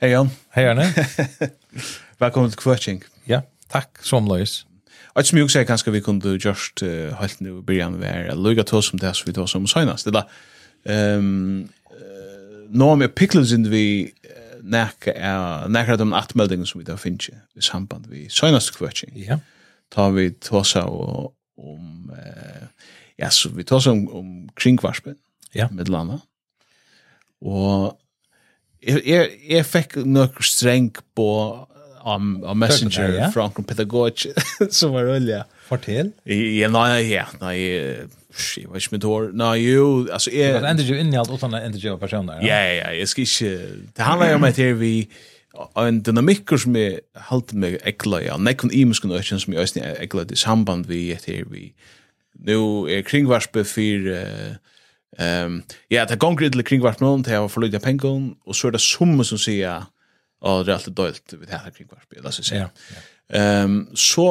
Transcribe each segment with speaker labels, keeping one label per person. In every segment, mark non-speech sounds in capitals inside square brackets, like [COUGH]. Speaker 1: Hej Jan,
Speaker 2: Hej [LAUGHS] Arne.
Speaker 1: välkommen till Kvötching.
Speaker 2: Ja, tack som Lois.
Speaker 1: Och som jag säger kanske vi kunde just uh, helt nu börja med att lugga till oss om det här som vi tar som senast. Det där, um, uh, några med pickles in vi näka är näka de attmeldingen som vi där finns i samband vi senast Kvötching.
Speaker 2: Ja.
Speaker 1: Tar vi tosa och om eh, ja, så vi tar om, om kringvarspen
Speaker 2: Ja.
Speaker 1: med landa. Og jeg, jeg, jeg fikk nok streng på om, om Messenger
Speaker 2: Tøkna, ja.
Speaker 1: fra onkel pedagog [LAUGHS] som var olja.
Speaker 2: Fortell.
Speaker 1: Ja, nei, ja, nei, jeg jeg var ikke mitt hår. Nei, jo, altså,
Speaker 2: Det
Speaker 1: jeg...
Speaker 2: var ändå ju in i allt utan att ändå ju personer.
Speaker 1: Ja, ja, ja, jeg skal ikke... Det handler jo om at her vi en dynamikker som er jeg halte meg ekla, ja, nekken imenske nøkken som jeg også ekla i er samband vi et her vi... Nå er kringvarspe for... eh, Ehm ja, ta konkret til kringvart mån til å få lydia pengon, og så er det summe som sier at det er alltid dølt ved det her kringvart, la oss si.
Speaker 2: Ja.
Speaker 1: Ehm så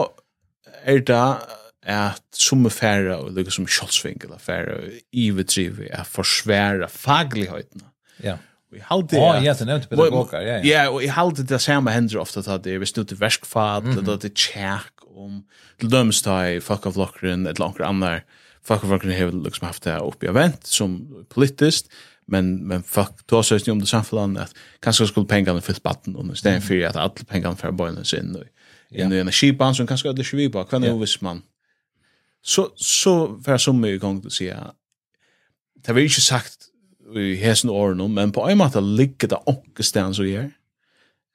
Speaker 1: er det at summe færre og lykke som kjolsving eller færre ivetrive er forsvære fagligheten.
Speaker 2: Ja.
Speaker 1: Og jeg halte
Speaker 2: Ja, ja, det nämnde pedagoger. Ja, ja.
Speaker 1: Ja, og jeg halte det samme hender ofte at det er hvis nu til verskfad,
Speaker 2: Mhm.
Speaker 1: mm -hmm. at det er tjekk om til dømes da i fuck of lockeren, et langt annar fuck of lockeren har liksom haft det oppi av vent som politiskt, men, men fuck, då så om det samfunnet at kanskje skulle pengene fyllt batten under stedet
Speaker 2: Mhm.
Speaker 1: for at alle pengene fra bøyene sin og inn i energibanen som kanskje hadde ikke vi på, hva er det hvis man så, så får jeg så mye i gang til å si at det var ikke sagt i hesen årene, men på en måte ligger det ånke stedet som gjør, er,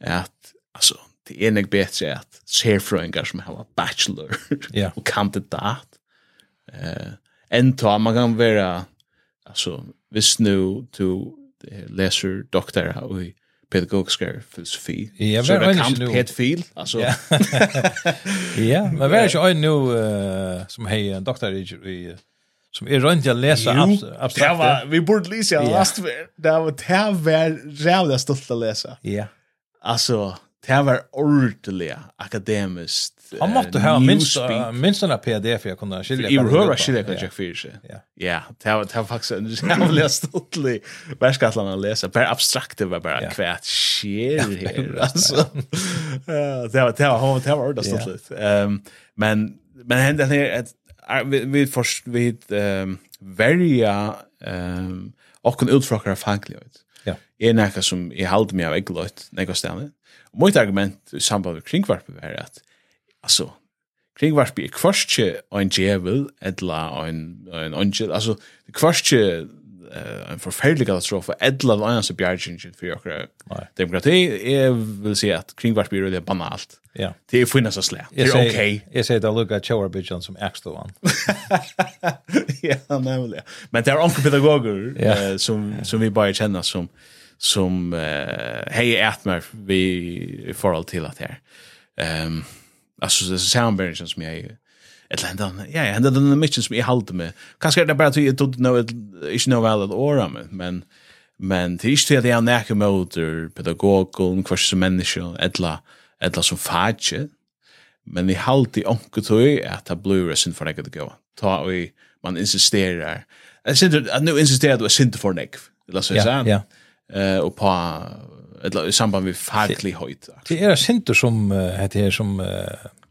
Speaker 1: at, altså, det er nok bedre at serfrøyngar som har bachelor
Speaker 2: Ja.
Speaker 1: og kandidat, eh, enn ta, man kan være, altså, hvis nu du eh, leser doktor og i pedagogisk filosofi,
Speaker 2: Ja,
Speaker 1: så er
Speaker 2: men
Speaker 1: det
Speaker 2: ikke
Speaker 1: kamp
Speaker 2: nu.
Speaker 1: pedofil, altså,
Speaker 2: Ja. Ja, men vad är ju en nu eh, som hej en doktor i som er är runt jag läser abstrakt.
Speaker 1: det var, vi borde lyse av
Speaker 2: Ja.
Speaker 1: last ver. Det var, det var rævla stolt å lese.
Speaker 2: Ja.
Speaker 1: Alltså, det var ordentligt akademiskt. eh,
Speaker 2: Han måste ha minst minst en PDF jag kunde skilja.
Speaker 1: I behöver shit jag kan checka för sig.
Speaker 2: Ja.
Speaker 1: Ja, det var det var faktiskt en jävla stolt värskatlan att läsa. Per abstrakt det var bara
Speaker 2: Ja.
Speaker 1: kvärt shit här alltså. Eh, Det var det var det var ordentligt stolt. Ehm men men hände det att vi vi först vi ehm välja ehm och en utfrågare fanklighet
Speaker 2: Ja.
Speaker 1: er nekka som jeg halde meg av eggløyt nekka stedene. Og mitt argument i samband med kringvarpet er at, altså, kringvarpet er kvarskje en djevel, edla en, en angel, altså, kvarskje eh, en forferdelig katastrofe, edla en annars bjergjengjen for jokra
Speaker 2: Nei.
Speaker 1: demokrati, jeg vil si at kringvarpet er veldig banalt.
Speaker 2: Ja.
Speaker 1: Det er finnes av slett, det er ok.
Speaker 2: Jag säger att Luca Chowerbijan som äxtovan.
Speaker 1: [LAUGHS] ja, nämligen. Men det är onkel pedagoger
Speaker 2: Ja.
Speaker 1: eh, som som vi bara känner som som eh hej ätmer vi i förhåll till att här. er. Ehm alltså det är soundbergen som jag ett land ja, ja, den den mission som jag håller med. Kanske är det bara att jag inte know it is no valid or men men men er det är inte att jag är näka mot pedagogen, kvarst som människa, etla etla som fadje men i halt i onku tøy at ta blue resin for nekka gå. Ta og man insisterar. Jeg synes at nu insisterar du er sint for nekk. La oss si
Speaker 2: Ja, ja.
Speaker 1: Eh og på eller i samband med faglig høyt.
Speaker 2: Det er är synter som heter här som eh,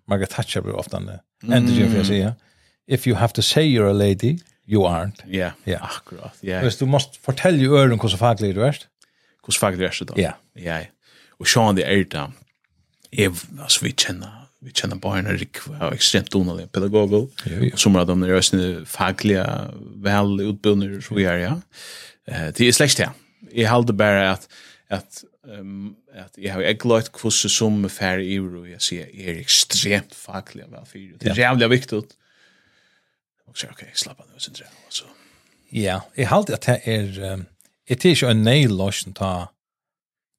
Speaker 2: Margaret Thatcher brukar ofta ändå ju för att säga. If you have to say you're a lady, you aren't.
Speaker 1: Ja,
Speaker 2: Ja.
Speaker 1: akkurat. Ja.
Speaker 2: Hvis du måste fortälja öron hur så faglig du är.
Speaker 1: Kus faglig er det da?
Speaker 2: Ja.
Speaker 1: Ja. ja. Og sjåan det er da. Jeg, altså vi kjenner vi kjenner barna rikva og ekstremt donalige pedagoger.
Speaker 2: Jo, jo.
Speaker 1: Og som er de er også faglige, vel utbundne og så videre, er, ja. Eh, det er slett det. Jeg halde bare at, at, um, at jeg har ikke løyt hvordan som er færre i og jeg sier jeg er ekstremt faglig vel fyrt. Det er jævlig viktig. Og så, ok, slapp av nå, synes jeg. Og så,
Speaker 2: Ja, jeg halte at det er um, det er ikke en neilåsen ta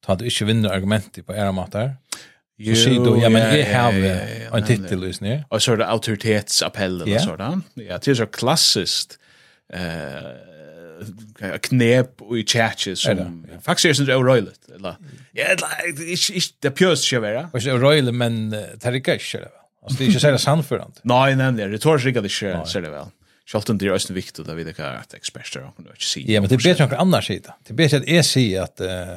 Speaker 2: ta du ikke vinner argumentet på era mater. Så sier du, ja, men jeg har en titel i snir.
Speaker 1: Och så är det autoritetsappell eller
Speaker 2: Ja.
Speaker 1: sådant. Ja, det är så klassiskt eh knep och i chatches
Speaker 2: Er
Speaker 1: som faktiskt är sånt oröjligt eller ja er eller ich ich der pjörs ska vara.
Speaker 2: Og så er røyle, men eh, det er ikke ikke det. Altså, det er ikke særlig sannførende.
Speaker 1: Nej, nämligen det tar sig inte så så det väl. Schalten det er är också viktigt att vi det kan att experter och kunna se.
Speaker 2: Ja, men det er bedre enn hver annen sida. Det er bedre at jeg sier at eh,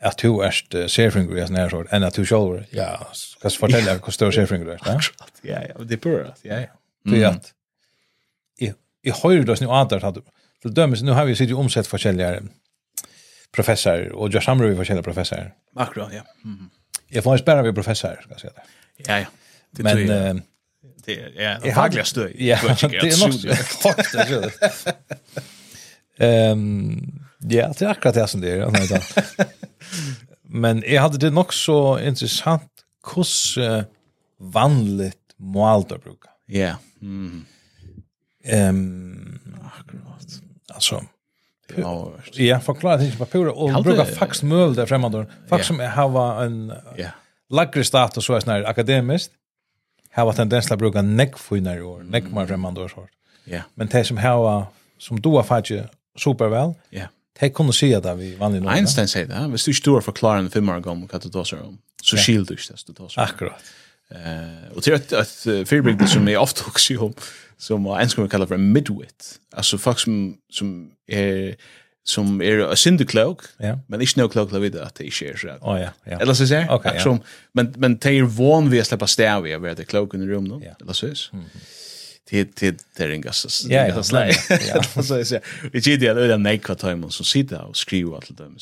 Speaker 2: at du er serfringer i en her sort, enn at du selv er, ja, skal jeg fortelle hvor stor serfringer du er.
Speaker 1: Akkurat, ja, ja, det er pura, ja, ja.
Speaker 2: Du
Speaker 1: Mm.
Speaker 2: er at, jeg, jeg hører det nå antar at, til dømes, nå har vi sitt omsett forskjellige professorer, og jeg samler vi forskjellige professorer.
Speaker 1: Akkurat, ja. Mhm.
Speaker 2: Jeg får spære vi professorer, skal jeg si det.
Speaker 1: Ja, ja. Det
Speaker 2: Men,
Speaker 1: tror jeg.
Speaker 2: eh,
Speaker 1: det är ja,
Speaker 2: Jeg
Speaker 1: det er
Speaker 2: har-
Speaker 1: hagliga stöj.
Speaker 2: ja, [LAUGHS] det er nok
Speaker 1: det.
Speaker 2: Fuck, det er ikke det. Ehm, Ja, det er akkurat det som det er. nei, da. Men jeg hadde det nok så interessant hvordan vanligt mål du bruker.
Speaker 1: Ja. Mm.
Speaker 2: Ehm,
Speaker 1: Akkurat.
Speaker 2: altså,
Speaker 1: Det var overst.
Speaker 2: ja, forklare ting på papir, og
Speaker 1: hadde-
Speaker 2: bruker faktisk møl der fremmede.
Speaker 1: Ja.
Speaker 2: Faktisk som jeg har en
Speaker 1: Ja.
Speaker 2: lagre status så er sånn her akademiskt, har tendens til å bruke nekkfunner i år,
Speaker 1: Mm.
Speaker 2: nekkmar fremmede år. sort.
Speaker 1: Ja.
Speaker 2: Men de som har, som du har fattig supervel,
Speaker 1: Ja.
Speaker 2: de kunne si det vi vanlig nå.
Speaker 1: Einstein sier det, hvis du ikke tror forklare en fem år gammel hva du tar seg om, så skil du ikke det du tar seg om.
Speaker 2: Akkurat.
Speaker 1: Eh, Og til et, et eh, fyrbygd som jeg ofte også om, som er en skal vi kalle for en midwit, altså folk som, som er som er syndeklok,
Speaker 2: Ja.
Speaker 1: men ikke noe klok til å vite at det ikke er så.
Speaker 2: Å ja, ja.
Speaker 1: Eller så ser.
Speaker 2: Okej, ja.
Speaker 1: Okay, ja. Men men det är van vid att släppa stäv i vet det kloken i rummet.
Speaker 2: Ja. Mm.
Speaker 1: Eller så. Till till det ringas.
Speaker 2: Ja, ja,
Speaker 1: nej.
Speaker 2: nej,
Speaker 1: [LAUGHS]
Speaker 2: ja.
Speaker 1: Så är det. Vi ger det över nej kvar timen så sitter och skriver till dem.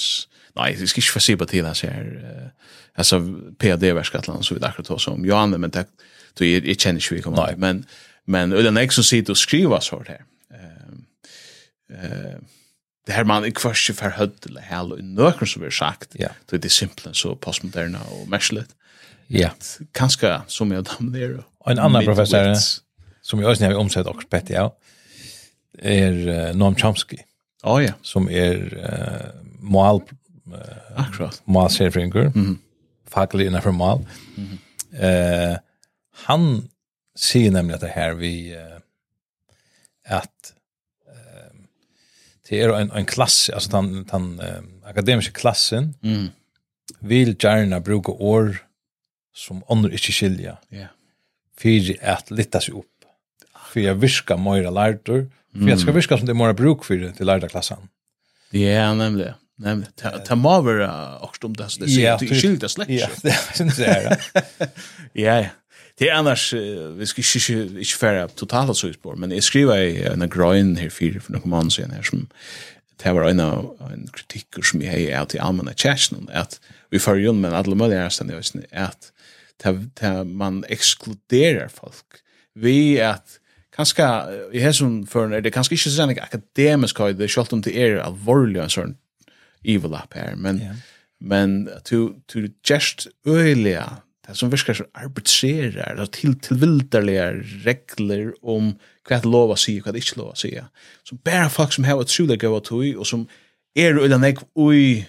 Speaker 1: Nej, det ska inte få se på eh, till här. Alltså PD värskatland så vi där då som Johan men det då är det känns ju kommer. Nej, men men över nej så sitter och skriver så här. Ehm eh det här man i kvarske för hödd eller hell och nökern som vi har sagt.
Speaker 2: Ja.
Speaker 1: Det är det simpelt så postmoderna och märsligt.
Speaker 2: Ja.
Speaker 1: Kanske som jag damnade.
Speaker 2: Och en annan professor, Som jag också har omsett och spett, ja, er eh, Noam Chomsky,
Speaker 1: Ja, ja.
Speaker 2: som er uh, mål,
Speaker 1: Akkurat.
Speaker 2: målserfringer,
Speaker 1: Mhm.
Speaker 2: mm. faglig innenfor mål. Eh, han sier nemlig at det her vi eh, at eh, det er en, en klasse, altså den, den eh, akademiske klassen,
Speaker 1: Mm.
Speaker 2: vil gärna bruka år som andre ikke skilja,
Speaker 1: Ja.
Speaker 2: fyrir at litta seg opp, fyrir at virka møyra lærdur, fyrir at
Speaker 1: Mm.
Speaker 2: det skal virka som det er møyra bruk fyrir til lærda klassan.
Speaker 1: Ja, nämligen. Nämligen. Ta ta må vara också om det så det
Speaker 2: Ja,
Speaker 1: ser ut
Speaker 2: typ.
Speaker 1: skilda släkt.
Speaker 2: Ja, [LAUGHS] det synes jeg er det.
Speaker 1: Ja, ja. Det är annars, eh, vi ska inte, inte, inte färra totala sågspår, men jag skriver i øh, en grön här fyra för några månader sedan här som det var en av en kritiker som jag har till allmänna tjärsten, att vi får ju med alla möjliga ständiga visning, att det, det, man exkluderar folk. Vi att kanske, eh, i hessum förrän är det kanske inte sådana akademisk höjde, självt om det är allvarliga en sån evil app här, men men to to just öliga det som virkar som arbitrerar och till tillvildarliga regler om vad lov att säga och vad inte lov att säga som bara folk som har ett sula gå att oj och som är öliga nek oj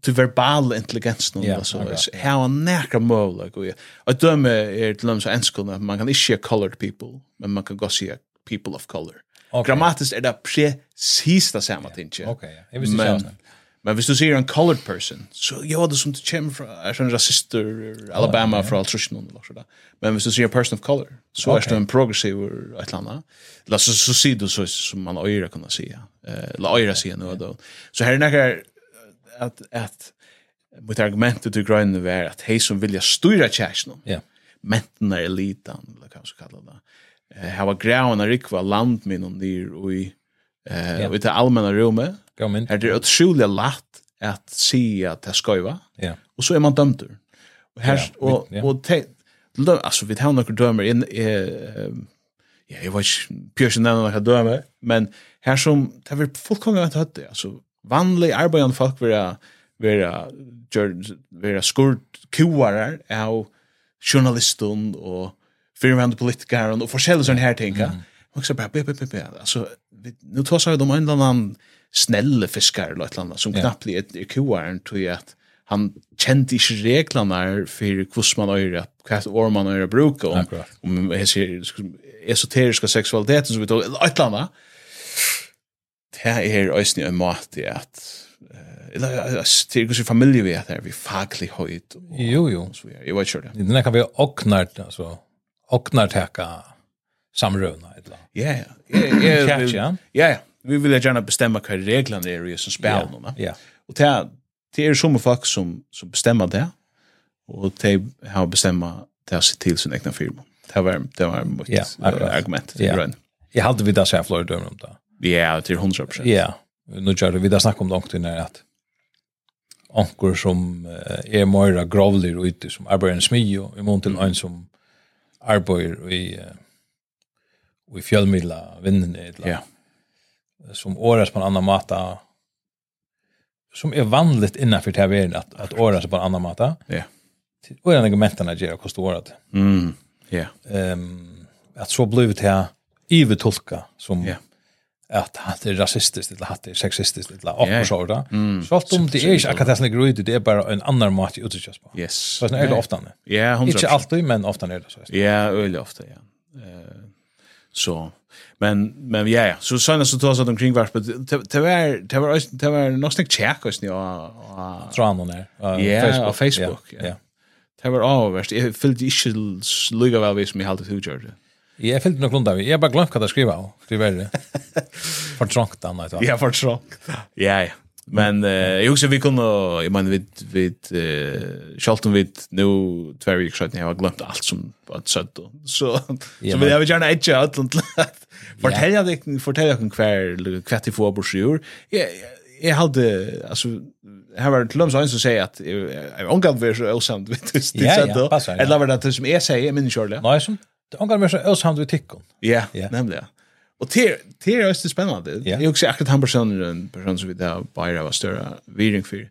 Speaker 1: till verbal intelligens någon
Speaker 2: Ja,
Speaker 1: yeah, så
Speaker 2: akkurat.
Speaker 1: how on nära möjligt och att döma är till dem så enskilda man kan inte se colored people men man kan gå se people of color
Speaker 2: Ok.
Speaker 1: grammatiskt er är det precis det samma tinget
Speaker 2: Ok, ja. Jeg visste ikke
Speaker 1: men
Speaker 2: sånn.
Speaker 1: men hvis du sier en colored person, så ja, det er som du kommer fra, er sånn rasister, Alabama fra Altrushn og noe sånt. Men hvis du sier person of color, så
Speaker 2: Ok.
Speaker 1: er du en progressiv et eller annet. Eller så, så sier du så som man øyre kan si, eh, eller øyre sier noe da. Så her er nekker at, at mitt argument til grønne er at hei som vilja styra kjæresten,
Speaker 2: Ja,
Speaker 1: mentna elitan, eller hva man skal kalla det. Eh, Hava grævna rikva landminnen dyr og i, eh,
Speaker 2: Ja.
Speaker 1: og i det allmänna rummet,
Speaker 2: gå mynd.
Speaker 1: Her er det utrolig lagt at sige at det skøyva,
Speaker 2: Ja,
Speaker 1: og så er man dømt ur. Og her,
Speaker 2: Ja,
Speaker 1: og,
Speaker 2: vi- ja.
Speaker 1: og te, lø, altså, vi tar noen dømer inn, eh, ja, jeg vet ikke, Pjørsen nevner noen dømer, men her som, det er fullkomlig vant høyt det, altså, vanlig arbeidende folk vil vera gjør vera skurt kuarar av journalisten og fyrrvande politikaren og forskjellige sånne her ting. Mm. Man kan bare, be, be, be, be. Altså, vi, nu tar seg om en eller annen snelle fiskar eller et eller annet, som
Speaker 2: Ja.
Speaker 1: knappt er, er kuaren, tror jeg at han kjente ikke reglene her for hvordan man øyre, hva år man øyre bruker, om,
Speaker 2: Akkurat.
Speaker 1: om jeg sier, esoteriska seksualiteten som vi tog, eller et eller annet, det er øyne en måte at eh, eller eh, det er ikke så familie vi at det er vi faglig høyt og
Speaker 2: jo, jo.
Speaker 1: så videre. Jeg vet ikke det. er.
Speaker 2: Den kan vi åknar, altså, åknar teka samrøvna, et eller annet.
Speaker 1: Ja, ja. Jeg- jeg-
Speaker 2: Kjært, ja.
Speaker 1: Ja, ja. Vi vil gjerne bestemme hva reglene er i som spiller nå.
Speaker 2: Ja,
Speaker 1: Og det er det er som folk som, som bestemmer det, og de har bestemmer det å se til sin egna firma. Det var, det var mitt
Speaker 2: Ja,
Speaker 1: eh,
Speaker 2: akkurat.
Speaker 1: argument.
Speaker 2: Ja.
Speaker 1: Right.
Speaker 2: Jeg halte vi da sier flere dømer om det.
Speaker 1: Ja, er til 100%.
Speaker 2: um Ja, nu kör vi där snackar om långt innan att ankor som eh, är mera grovlig och ute som arbetar i en smio i mån till
Speaker 1: Mm.
Speaker 2: en som arbetar i eh, i fjällmidla vinden eller
Speaker 1: Ja.
Speaker 2: som åras på en annan mata som är vanligt innanför det här världen att, att åras på en annan mata
Speaker 1: Ja.
Speaker 2: och den argumenten att göra kostar året
Speaker 1: Mm. Ja.
Speaker 2: um, att så blev det här ivetolka som
Speaker 1: Ja.
Speaker 2: att att det är rasistiskt eller att det är sexistiskt eller och
Speaker 1: Ja, Mm. ja.
Speaker 2: yeah. så där. Så att om det är inte akkurat det som ligger ute, det är bara en annan mat i utsikt på.
Speaker 1: Yes.
Speaker 2: Så det är er det ofta.
Speaker 1: Ja, 100%.
Speaker 2: Inte alltid, men ofta är det så.
Speaker 1: Ja, öle ofta, ja. Eh, så men men ja ja så sen så tas att omkring vart det var det var öst- det var något snack check oss nu och
Speaker 2: Tror han hon är. eh,
Speaker 1: Ja, av Facebook,
Speaker 2: Ja.
Speaker 1: ja.
Speaker 2: ja.
Speaker 1: det var avvärst jag fyllde inte lugga väl vis som jag hade hur gjorde
Speaker 2: Jag fyllde nog lunda. Jag har bara glömt vad jag skriver. av. Det är värre.
Speaker 1: [LAUGHS]
Speaker 2: För trångt annat. [LAUGHS] va?
Speaker 1: Ja, för så. Ja, ja. Men eh jag också vi kunde jag menar vi vi eh Charlton vi nu två veckor sedan jag har glömt allt som var sagt då. Så
Speaker 2: Ja,
Speaker 1: så
Speaker 2: men-
Speaker 1: vill jag gärna edge out och fortälja dig fortälja dig kvar kvar till för brosjur. Jag jag hade alltså här var det Lums som säger att jag ångar vi så osamt vet du
Speaker 2: Ja,
Speaker 1: det
Speaker 2: ja,
Speaker 1: så då.
Speaker 2: passar, ja.
Speaker 1: Eller var det som jag säger min Charlie?
Speaker 2: Nej, som det angår mer så ösamt vi tycker.
Speaker 1: Ja,
Speaker 2: Ja.
Speaker 1: nämligen. Och det det är ju spännande.
Speaker 2: Ja.
Speaker 1: Jag är också akkurat han personen en person som vi där bara var större viring för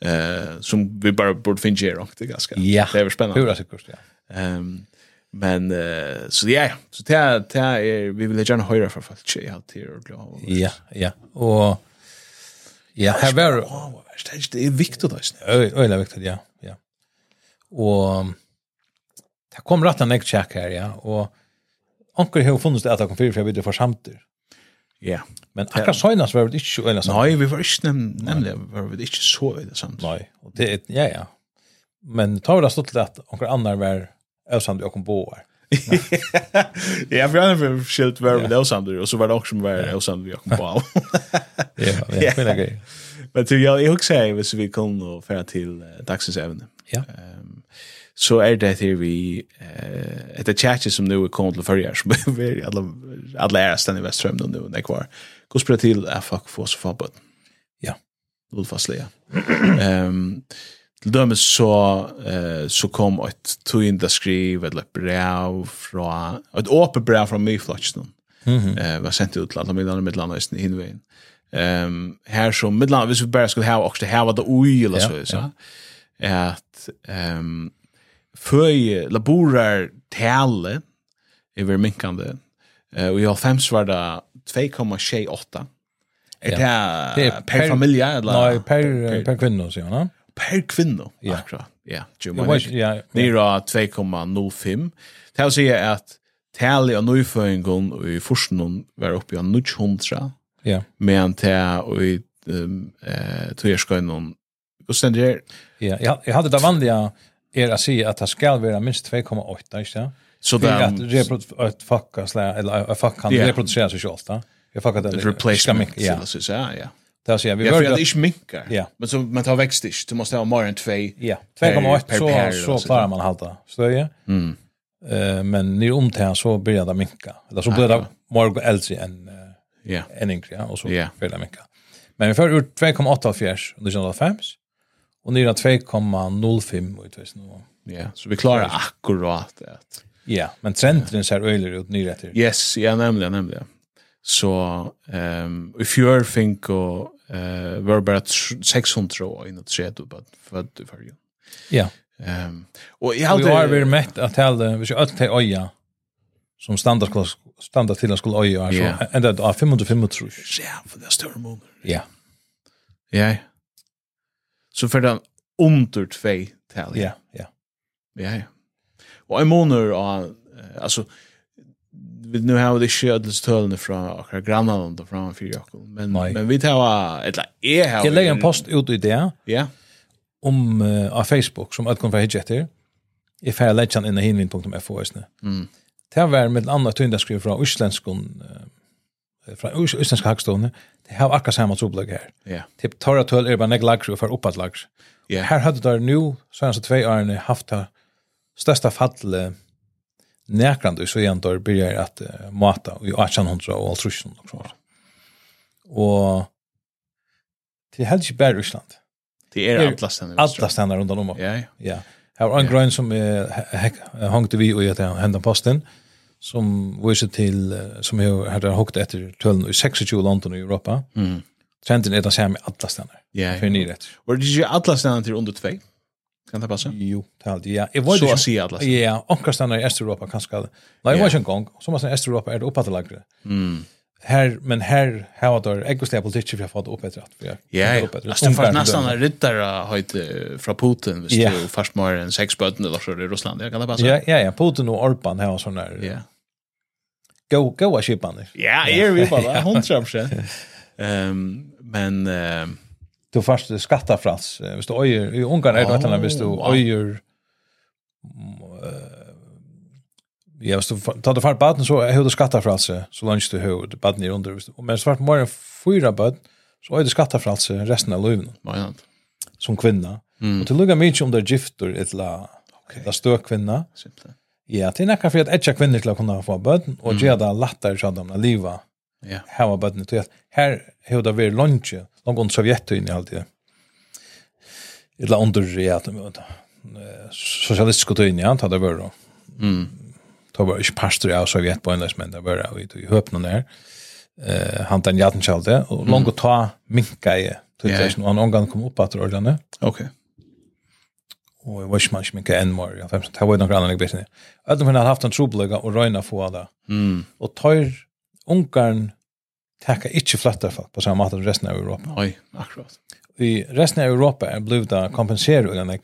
Speaker 1: eh som vi bara borde finna här och det är ganska.
Speaker 2: Ja.
Speaker 1: Det är väl spännande.
Speaker 2: Hur är det kurs, ja.
Speaker 1: Ehm men eh så ja, ja. så det är- det är vi vill gärna höra för folk tjej allt här och glad.
Speaker 2: Ja, ja. Och ja, här var
Speaker 1: Åh, vad värst. Det är- det er är viktigt då.
Speaker 2: Ö- Öjla viktigt, ja. ja. Og det kom rätt en tjekk her, ja. Og anker har funnits det at det kom fyrir, for jeg vet det for samtidig.
Speaker 1: Ja.
Speaker 2: Men akkurat søgnast var det ikke øyla samtidig.
Speaker 1: Nej, vi var inte nämn- nämligen var vi inte så vid det samt.
Speaker 2: Nei. Og det er, ja, ja. Men ta var det stått til at anker annar var øysamtidig og kom på her.
Speaker 1: Ja, för han har skilt var vi det samt och så var det också som var det samt vi kom på.
Speaker 2: Ja, ja, ja. ja.
Speaker 1: Men du, jag jag också säger hvis vi kommer och färra till uh, dagsens ämne.
Speaker 2: Ja.
Speaker 1: Ehm, så är det här vi eh ett chat som nu är kommit till förra som er [LAUGHS] är väldigt alla alla är stan i Västström nu när er kvar. Går spela till är fuck för så fabbet.
Speaker 2: Ja.
Speaker 1: Vill fastlägga. Ehm till dömes så eh så kom ett tvinda skriv eller brev från ett öppet brev från Myflotchen
Speaker 2: Mhm.
Speaker 1: eh var sent ut till alla medlemmar mellan oss i Hinvein. Ehm här som mellan hvis vi bara skulle ha också här vad det oj eller så
Speaker 2: Ja,
Speaker 1: så. Är att ehm för laborar tälle över minkande. Eh och i all fem var det 2,68. Är
Speaker 2: Ja.
Speaker 1: det,
Speaker 2: Det
Speaker 1: ja.
Speaker 2: är
Speaker 1: Er per,
Speaker 2: per-
Speaker 1: familja eller
Speaker 2: Nei, per, per kvinne, sier han.
Speaker 1: per kvinna.
Speaker 2: Ja.
Speaker 1: Akkurat. Ja,
Speaker 2: Ja,
Speaker 1: Jumani.
Speaker 2: ja, ja.
Speaker 1: Nira 2,05. Det vil si at tali av nøyføringen og i forskningen var oppe i 900,
Speaker 2: Ja,
Speaker 1: men til og i um, eh, tøyerskøynen og stendt her,
Speaker 2: ja. Jeg- Jeg hadde det vanlige er å si at det skal være minst 2,8, ikke sant?
Speaker 1: så
Speaker 2: Det är att
Speaker 1: det er
Speaker 2: reprodu- att fucka slä eller att fuck han
Speaker 1: Ja.
Speaker 2: reproducerar sig själv va. Jag fuckar det.
Speaker 1: er
Speaker 2: Ska
Speaker 1: replacement,
Speaker 2: mycket,
Speaker 1: ja.
Speaker 2: Ja.
Speaker 1: så ja, ah, ja.
Speaker 2: Det ser vi
Speaker 1: Ja, for
Speaker 2: börjar.
Speaker 1: det ikke minker,
Speaker 2: Ja.
Speaker 1: men så man tar vekst ikke, du måste ha mer enn 2.
Speaker 2: Ja.
Speaker 1: per- per pair,
Speaker 2: 2,8
Speaker 1: eller vad
Speaker 2: så
Speaker 1: så
Speaker 2: så klarar man halta stöje.
Speaker 1: Mm.
Speaker 2: Eh men ni om det så börjar det minka. Eller
Speaker 1: Ah,
Speaker 2: så blir det mer äldre än eh,
Speaker 1: Ja,
Speaker 2: än yngre ja, och så
Speaker 1: Ja.
Speaker 2: börjar det minka. Men vi får ut 2,8 fjärs under 2005 och ni har 2,05 och vet nu.
Speaker 1: ja. Så vi klarer akkurat det.
Speaker 2: Ja, men trenden ser öjligare ut nu rätt.
Speaker 1: Yes, ja, nemlig, nemlig. Så ehm i fjør fink og eh var bara tr- 600 og innan tre du bara för du för ju.
Speaker 2: Ja.
Speaker 1: Ehm och jag
Speaker 2: Och jag har varit
Speaker 1: hade
Speaker 2: mätt att tala, vi ska öll till öja som standardklass standard till skulle öja alltså
Speaker 1: Ja.
Speaker 2: ända av 505 tror jag.
Speaker 1: ja för det stora månader.
Speaker 2: Ja.
Speaker 1: Ja. Så för den under 2 tal.
Speaker 2: Ja, ja.
Speaker 1: Ja, ja. Og en måneder av, eh, altså, vi nu har det ikke ødelse tølene fra akkurat grannene og fra fyrir okkur, men,
Speaker 2: Nei.
Speaker 1: men vi tar, eller jeg har...
Speaker 2: Jag lägger en post ut i det
Speaker 1: Ja,
Speaker 2: om eh, av Facebook som att kom för hitjet här. I färleggen innan hinvin.fo just nu.
Speaker 1: Mm.
Speaker 2: eh, Det var med en annan tynda skriv från isländskon fra Østlandske Hagstovne, det har akkurat samme troblegg her.
Speaker 1: Ja.
Speaker 2: Typ torra tøl er bare nek lagre og fer oppat lagre.
Speaker 1: Ja.
Speaker 2: Her hadde der nu, så hans tvei årene, haft det største fallet nekrande, så igjen der byrjar at uh, mata i 1800 og alt russen. Og, så. og det er helst ikke bare Russland.
Speaker 1: Det er
Speaker 2: Det er
Speaker 1: alt lasten.
Speaker 2: Alla stannar rundt om.
Speaker 1: Ja, ja.
Speaker 2: Ja. Här var en grön som eh, hängde vi och jag hända posten som visar till eh, som jag hade hukt efter tullen i 26 länder i Europa. er
Speaker 1: Mm.
Speaker 2: Trenden är den samma i alla stannar.
Speaker 1: Ja.
Speaker 2: För ni rätt.
Speaker 1: Var det ju alla stannar till under 2? Kan det passa?
Speaker 2: Jo, talt. Ja, jag
Speaker 1: Så
Speaker 2: var
Speaker 1: att säga alla.
Speaker 2: Ja, och stannar i Östeuropa kanske. Nej, jag var en gång. Som man säger Östeuropa är det uppåt lagre.
Speaker 1: Mm.
Speaker 2: Här men här har det ekonomiska politik för jag fått upp ett rätt.
Speaker 1: Ja, er um ja. Alltså det fanns nästan en riddare höjt från Putin, visst
Speaker 2: Ja.
Speaker 1: du fast mer än sex böten eller så i Ryssland. Ja, kan det passa?
Speaker 2: Ja, ja, ja, Putin och Orban har sån där.
Speaker 1: er- Ja.
Speaker 2: Go go a ship on
Speaker 1: Ja, är vi
Speaker 2: [LAUGHS]
Speaker 1: bara 100%. Ehm men ehm
Speaker 2: du fast skatta frans hvis du øyer i Ungarn er det
Speaker 1: Oh,
Speaker 2: oh, hvis du
Speaker 1: wow.
Speaker 2: øyer mm, eh, ja hvis du fa- tar du fart baden så har du skatta frans så langt du har baden i under hvis du men svart mer enn fyra bad så øyer du skatta frans resten av livet
Speaker 1: vad är det?
Speaker 2: som kvinna
Speaker 1: Mm.
Speaker 2: og til lukka mykje om det er gifter etla
Speaker 1: Okej.
Speaker 2: okay. stø kvinna
Speaker 1: Simpelt.
Speaker 2: ja til nekka for at etja kvinner til å kunne få bad og
Speaker 1: Mm.
Speaker 2: mm. gjøre det lettere så at de liva
Speaker 1: Ja.
Speaker 2: hava bøtni til at her hevur ta verið lunch, langt undir Sovjetunionen alltid. Ella undir ja, sosialistiska tøyni, ja, ta det vera.
Speaker 1: Mm.
Speaker 2: Ta var ikki pastur av Sovjet på einlæs men ta vera við er í høpnum der. Eh han den jatten skalde og langt ta minka i
Speaker 1: Mm. Ja, ja.
Speaker 2: tutation og angan kom upp at orðlandet
Speaker 1: Okej.
Speaker 2: og jeg var ikke man ikke minka enn mer, ja, det var jo noen annen bittene. Ødden for han hadde haft en trobløyga og røyna få det.
Speaker 1: Mm.
Speaker 2: Og tøyr ungarn tekka ikke flyttar folk på samme måte som resten av Europa.
Speaker 1: Oj, akkurat.
Speaker 2: i resten av Europa er blivit att kompensera den här.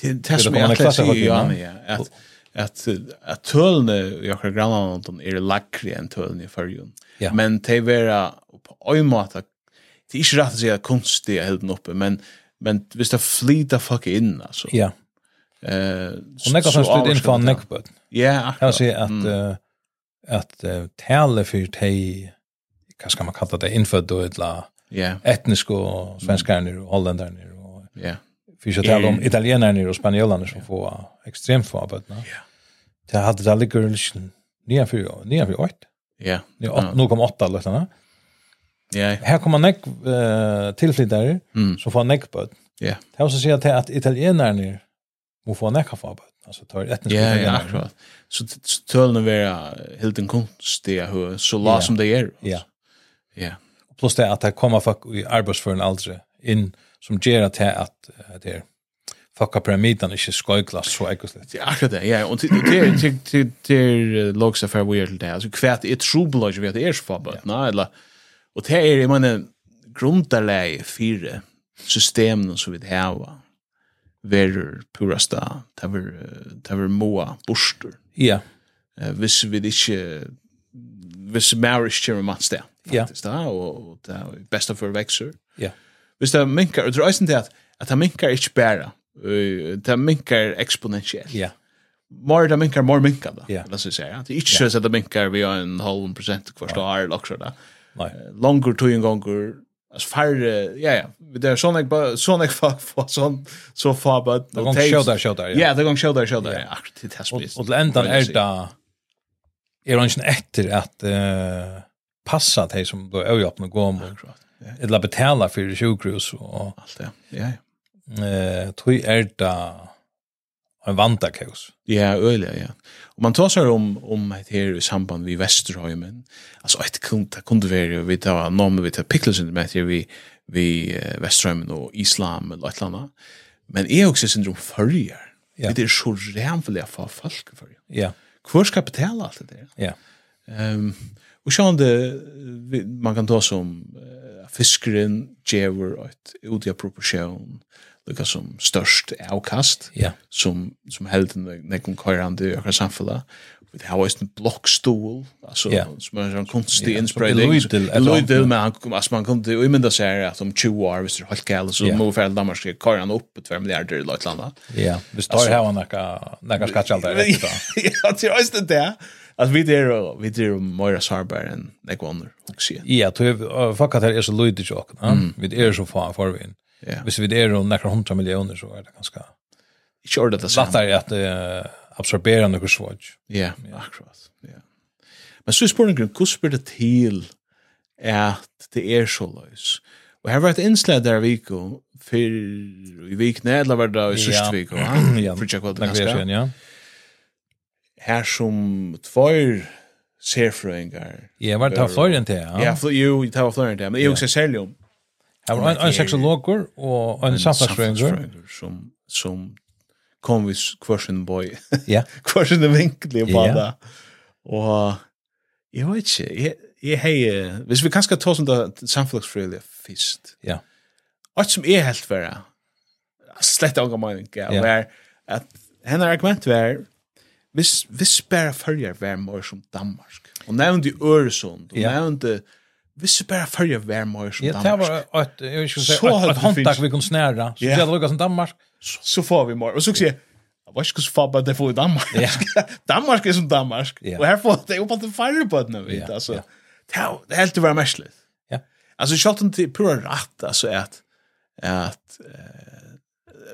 Speaker 1: Det er det som
Speaker 2: det
Speaker 1: jag
Speaker 2: kommer en
Speaker 1: klassar
Speaker 2: klassehöjd
Speaker 1: i Johanna,
Speaker 2: innan.
Speaker 1: ja, att att att tölne i er akra grannland är lackre än tölne i förjun.
Speaker 2: Ja.
Speaker 1: Men det vera på en måte det er är inte rätt att säga konstigt er helt uppe, men men visst det flyter fuck in alltså.
Speaker 2: Ja.
Speaker 1: Eh
Speaker 2: Och nästa som stod in från Neckbot.
Speaker 1: Ja,
Speaker 2: Jag
Speaker 1: akkurat.
Speaker 2: ser att eh, att eh, tale för te vad ska man kalla det infödd och etla
Speaker 1: Ja,
Speaker 2: etniska svenskar nu och holländare nu och
Speaker 1: ja.
Speaker 2: för så tala om
Speaker 1: Eh.
Speaker 2: italienare nu och spanjorer som får extremt få arbeten.
Speaker 1: Ja.
Speaker 2: Det hade det ligger liksom nya för nya för åt.
Speaker 1: Ja.
Speaker 2: Nu nu kom åtta lättarna.
Speaker 1: Ja.
Speaker 2: Här kommer neck eh, tillflyttare
Speaker 1: Mm.
Speaker 2: som får neckbot.
Speaker 1: Ja.
Speaker 2: Det har så säga till att italienarna må få näka för arbete. Alltså tar etniska
Speaker 1: Ja, ja,
Speaker 2: italienare.
Speaker 1: akkurat. Så t- så tölne vera helt en konstiga hur så la
Speaker 2: Ja.
Speaker 1: som det är.
Speaker 2: Ja.
Speaker 1: Ja.
Speaker 2: Plus det att det kommer folk i arbetsfören äldre in som ger att det att eh, det är fucka pyramiden inte skojglas så ekoslätt.
Speaker 1: Det är akkurat det, ja. Och till till till till till logs affär vi är till det. Alltså er kvärt är trubbelage vi att det är så förbud. Nej, eller och det är jag menar grundarläge fyra systemen som vi det har. Verur purasta, taver taver moa borster.
Speaker 2: Ja,
Speaker 1: Eh, viss vi ikke viss marriage kjemur mats det
Speaker 2: Ja.
Speaker 1: faktisk da, og, og det er besta for vekser
Speaker 2: ja.
Speaker 1: viss det minkar, og er tror eisen til at at det minkar ikke bæra det minkar eksponentielt
Speaker 2: Ja.
Speaker 1: Mår det minkar, mår minkar da
Speaker 2: Ja.
Speaker 1: la oss si ja. det er ikke yeah. at det minkar vi har en halv prosent er hver stå her lakser da
Speaker 2: Nej.
Speaker 1: langer tog en gonger altså færre, ja ja det er sånn jeg bare, sånn jeg fa, fa, sånn så fa, bare
Speaker 2: Det går show där show där.
Speaker 1: ja, det gong show der, show der, ja, akkurat til
Speaker 2: Och
Speaker 1: testvis
Speaker 2: och till ändan är det är det inte efter att eh passa det som då är öppna gå om och
Speaker 1: akkurat, ja,
Speaker 2: eller betala för sjukhus och
Speaker 1: allt det, ja, ja
Speaker 2: eh tror är det en vantakaos.
Speaker 1: Ja, øyla, ja. Og man tar seg om, om et her i samband vi Vesterhøymen. Altså, et kunde, kunde være, vi tar nomen, vi tar pikkelsyn med her vi, vi eh, Vesterhøymen og Islam eller et eller annet. Men jeg er også syndrom førjer.
Speaker 2: Ja.
Speaker 1: Det er så rævlig å få folk for.
Speaker 2: Ja.
Speaker 1: Hvor skal jeg betale alt det der?
Speaker 2: Ja.
Speaker 1: Ehm och så det man kan ta som uh, fiskaren Jever ett utia proportion lika er som störst avkast
Speaker 2: Ja.
Speaker 1: som som helden när kom körande i ökar samfälla det har varit en blockstol alltså
Speaker 2: Ja.
Speaker 1: som är en konstig
Speaker 2: Ja, er
Speaker 1: inspredning
Speaker 2: så det lydde-
Speaker 1: Lloydel men han kom alltså man kom till i minda sig att om 20 år visst är det helt galet så
Speaker 2: Ja.
Speaker 1: nu färdar Danmark ska köra upp 2 miljarder i Lotland.
Speaker 2: Ja, vi står
Speaker 1: Alltså- [LAUGHS]
Speaker 2: er här och näka näka skattkältar rätt då.
Speaker 1: Ja, det är just det där. Att vi där vi där Moira Sarbar än Nick Wonder och se.
Speaker 2: Ja, du har fuckat här är så lite chock.
Speaker 1: Mm.
Speaker 2: Vi är så far för vi.
Speaker 1: Ja.
Speaker 2: Hvis vi er om nekker hundra millioner, så er det ganske
Speaker 1: Sure that the
Speaker 2: lattare at uh, absorbera noe svårt.
Speaker 1: Ja, akkurat. Ja. Men så er spørningen, hvordan spyr det til at det er så løs? Og her var et innslag der vi går, for i vikene, eller var det i sørste vik, [CLEARS THROAT]
Speaker 2: [CLEARS THROAT]
Speaker 1: ja, for ikke hva det
Speaker 2: Nekker vi er
Speaker 1: ganske.
Speaker 2: sen, ja.
Speaker 1: Her som tvær serfrøyngar.
Speaker 2: Jeg var til Florian til,
Speaker 1: Er- Ja,
Speaker 2: ja.
Speaker 1: fl- jo, det var flere enn det, men jeg også særlig om
Speaker 2: Jeg var en,
Speaker 1: er-
Speaker 2: en seksologer og en samfunnsfrøyngør.
Speaker 1: samfunnsfrøyngar som, som kom vi kvarsin boy, [LAUGHS]
Speaker 2: Ja.
Speaker 1: kvarsin vinkli på
Speaker 2: Ja.
Speaker 1: det. Og jeg vet ikke, jeg, jeg hei, eh, hvis vi kanskje tar sånn det samfunnsfrøyga fyrst,
Speaker 2: Ja.
Speaker 1: alt som er helt vera, slett av mening, ja,
Speaker 2: Ja.
Speaker 1: var at henne argument var, hvis, hvis bare følger vær mer som Danmark, og nevnte Øresund, og
Speaker 2: Ja.
Speaker 1: nevnte, hvis bare følger vær mer som
Speaker 2: Ja, det
Speaker 1: Danmark,
Speaker 2: var et, jeg vil ikke si,
Speaker 1: Så
Speaker 2: et,
Speaker 1: hadde
Speaker 2: et
Speaker 1: vi
Speaker 2: håndtak
Speaker 1: finst-
Speaker 2: vi kunne snære, så
Speaker 1: Ja.
Speaker 2: det lukket som Danmark.
Speaker 1: så får vi mer. Og så sier jeg, jeg vet ikke hvordan faen bare det får i Danmark. [LAUGHS] Danmark er som Danmark.
Speaker 2: Ja.
Speaker 1: Og her får det jo på det færre på den, vet
Speaker 2: Ja,
Speaker 1: altså.
Speaker 2: ja.
Speaker 1: Det er jo- Det er helt til å være merselig.
Speaker 2: Ja.
Speaker 1: Altså, kjølt om til pura rett, altså, at, at, eh,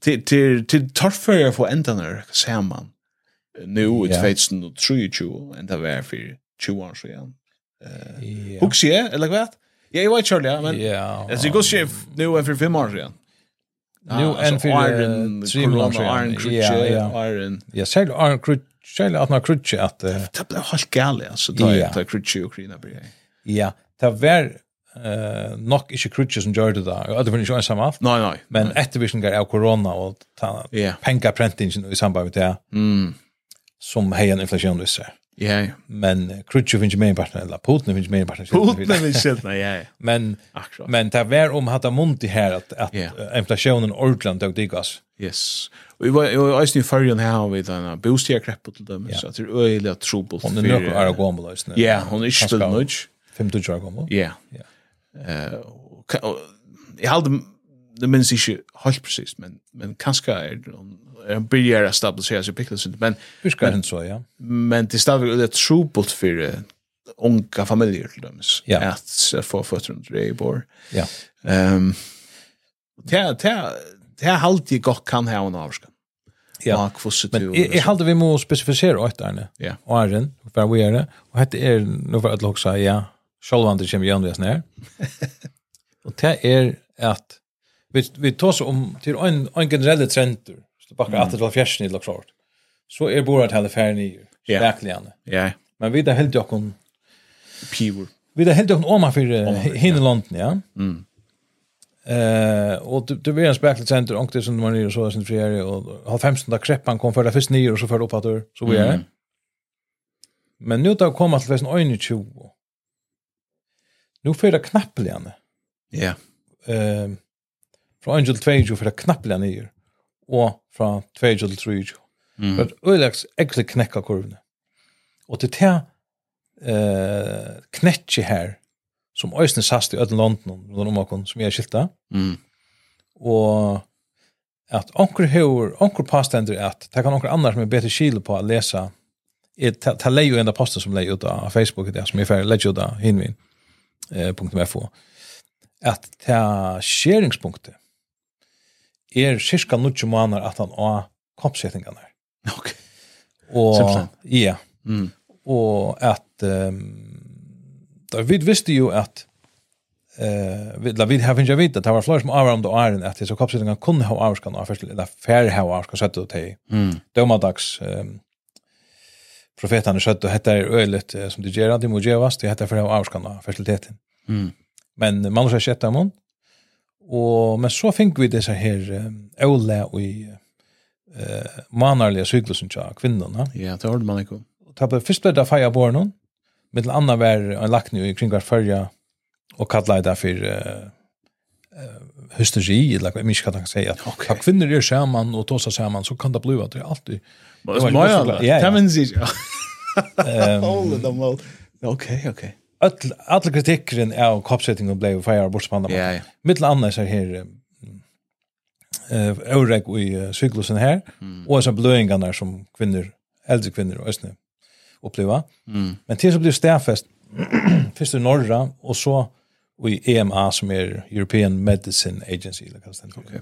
Speaker 1: til, til, til torrfører for endene, ser man, nu i
Speaker 2: Ja.
Speaker 1: 2023, enda hver for 20 år siden.
Speaker 2: Ja.
Speaker 1: Hugs jeg, eller hva? Ja, jeg vet ikke, ja, men,
Speaker 2: Ja.
Speaker 1: altså, jeg går ikke nu enn for fem år siden.
Speaker 2: Nu enn for
Speaker 1: Arren, Corona, Arren,
Speaker 2: Ja,
Speaker 1: Krutje,
Speaker 2: ja.
Speaker 1: Arren.
Speaker 2: Ja, særlig Arn Krutje, særlig at han Krutje, at... eh,
Speaker 1: Det ble helt gale, altså, da
Speaker 2: Ja.
Speaker 1: jeg tar Krutje og Krina blir jeg.
Speaker 2: Ja, det var eh nok ikke krutcher som gjør det da, og det var ikke ensam alt,
Speaker 1: Nei, nei.
Speaker 2: er men ettervirkninger av korona og ta
Speaker 1: Ja.
Speaker 2: pengaprentingen i samband med det,
Speaker 1: Mm.
Speaker 2: som heier en inflasjon visser.
Speaker 1: Ja, ja.
Speaker 2: Men eh, krutcher finnes ikke med i partner, eller Putin finnes ikke med i partner.
Speaker 1: Putene vil kjenne, ja, ja.
Speaker 2: Men,
Speaker 1: Akkurat.
Speaker 2: men det var om hatt munt i her, at, at
Speaker 1: Ja.
Speaker 2: eh, inflasjonen ordentlig døg digas.
Speaker 1: Yes. Og jeg var jeg var eisen i fargen her har vi denne bostjerkreppet til dem, så det er øyelig at trobult.
Speaker 2: Om det er noe er å gå om på løsene.
Speaker 1: Ja, hun er ikke
Speaker 2: Kanskje
Speaker 1: spilt
Speaker 2: av-
Speaker 1: nødt.
Speaker 2: 25 år gammel.
Speaker 1: Ja. Eh, og ka- og Jeg halde, det minns ikke helt precis, men, men kanskje er det byrjar å stabilisere seg pikkelse, men
Speaker 2: Husker hun så, ja.
Speaker 1: men det stav det er trubult for unga familjer til dem
Speaker 2: Ja.
Speaker 1: at eh, få føtter under det i bor.
Speaker 2: Ja.
Speaker 1: Ehm ta ta ta halt i gott kan ha en avskan.
Speaker 2: Ja.
Speaker 1: Mark Fosse
Speaker 2: Men jeg, jeg halde vi må spesifisere åtta erne.
Speaker 1: Ja.
Speaker 2: Og æren, hver vi er det. Og hette er, nå for at loksa, ja, sjolvande kommer igjen vi er
Speaker 1: [LAUGHS]
Speaker 2: snær. og det er at, vi, vi tar oss om til en, en generelle trender, så bakker mm. at det var fjersen i loksa vårt, så er bordet hele færre nye,
Speaker 1: Ja.
Speaker 2: speklig erne.
Speaker 1: ja,
Speaker 2: Men vi er helt jokken,
Speaker 1: pivor.
Speaker 2: vi er helt jokken oma for hinnelonden, ja.
Speaker 1: Mm.
Speaker 2: Eh och du du är en spekulator och det som man är så sen friare och halv 15 där kreppan kom för det först nio och så för upp att du så vi är.
Speaker 1: Mm.
Speaker 2: Men er nu då kommer till väsen 21. Nu för det knappligen.
Speaker 1: Ja.
Speaker 2: Ehm från Angel 22 för det knappligen nio och från 22 till 3.
Speaker 1: Mm.
Speaker 2: För Ölax extra knäcka kurvan. Och det här eh knäcke här som ösnen sast i Ödlanden och de omkring som jag skiltar
Speaker 1: Mm.
Speaker 2: og at onkur hevur onkur pastendur at ta kan onkur annar som er betri skil på at lesa er ta, ta leiu enda posten som leiu ut av Facebook der som er fer leiu ut av hinvin eh, .fo at ta skjeringspunktet er cirka 90 månader at han av kompsettingarna
Speaker 1: Okej.
Speaker 2: og
Speaker 1: Simpelthen.
Speaker 2: ja
Speaker 1: Mm.
Speaker 2: og at um, da vi visste jo at eh vi la vid har finja vita det var fler som avram då iron att det så kapseln kunde ha avskan av först eller fair ha avskan sett ut till
Speaker 1: Mm.
Speaker 2: domadags ehm profetarna sett och hette är ölet eh, som det ger att det måste göras det hette för ha avskan av fertiliteten
Speaker 1: Mm.
Speaker 2: men er man måste sätta dem och men så fick vi det så här eh, Ola och i eh manarliga cyklusen tja kvinnorna
Speaker 1: Ja, det hörde man ikon.
Speaker 2: ta på först blev det feja bor någon med en annan var en lack nu kring var förja och kalla det för eh hysteri eller vad minst kan jag säga att okay. kvinnor är samman och tossar samman så kan det bli att det är alltid
Speaker 1: Men så
Speaker 2: var-
Speaker 1: må
Speaker 2: det var-
Speaker 1: jag.
Speaker 2: ja,
Speaker 1: Det
Speaker 2: ja.
Speaker 1: minns jag.
Speaker 2: ehm,
Speaker 1: Hold them all. Okej, okej.
Speaker 2: all all kritikken av koppsettingen blev feja bort spanna
Speaker 1: Ja, ja.
Speaker 2: mitt annars så här eh Eurek
Speaker 1: Mm.
Speaker 2: i eh, cyklusen här och så blöingarna som kvinnor äldre kvinnor och snö uppleva.
Speaker 1: Mm.
Speaker 2: Men till så blir [CLEARS THROAT] stäfest först i norra och så och i EMA som är er European Medicine Agency eller kallas den.
Speaker 1: Okej.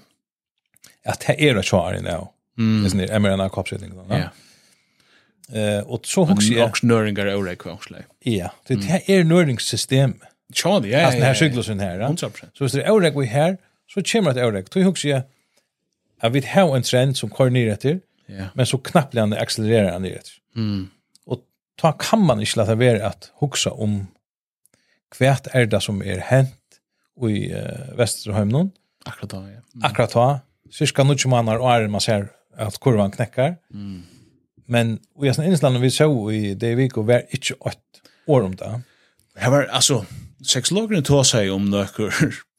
Speaker 2: Att det är det så här nu.
Speaker 1: Mm.
Speaker 2: Det är er mRNA kapsling då.
Speaker 1: Ja.
Speaker 2: Eh och så
Speaker 1: Och
Speaker 2: hooks jag.
Speaker 1: snöringar och räkor och slag.
Speaker 2: Ja, det
Speaker 1: Mm.
Speaker 2: här är näringssystem.
Speaker 1: Tja, det är
Speaker 2: Alltså den här cyklusen här. er ja.
Speaker 1: 100%.
Speaker 2: Så hvis det er eurek vi her, så kommer det eurek. Tog husker jeg at vi har en trend som kører ned etter,
Speaker 1: Ja.
Speaker 2: men så knapplande accelererer han ned etter.
Speaker 1: Mm.
Speaker 2: Og da kan man ikke lade være at huske om hvert er det som er hent i uh, Vesterhøymnen.
Speaker 1: Akkurat då, ja.
Speaker 2: Akkurat da, cirka noen måneder og er man ser at kurvan knekker.
Speaker 1: Mm.
Speaker 2: Men i sånne innslagene vi så i det vi går var ikke åtte år om det.
Speaker 1: Det var alltså sexologen tog sig om några [LAUGHS]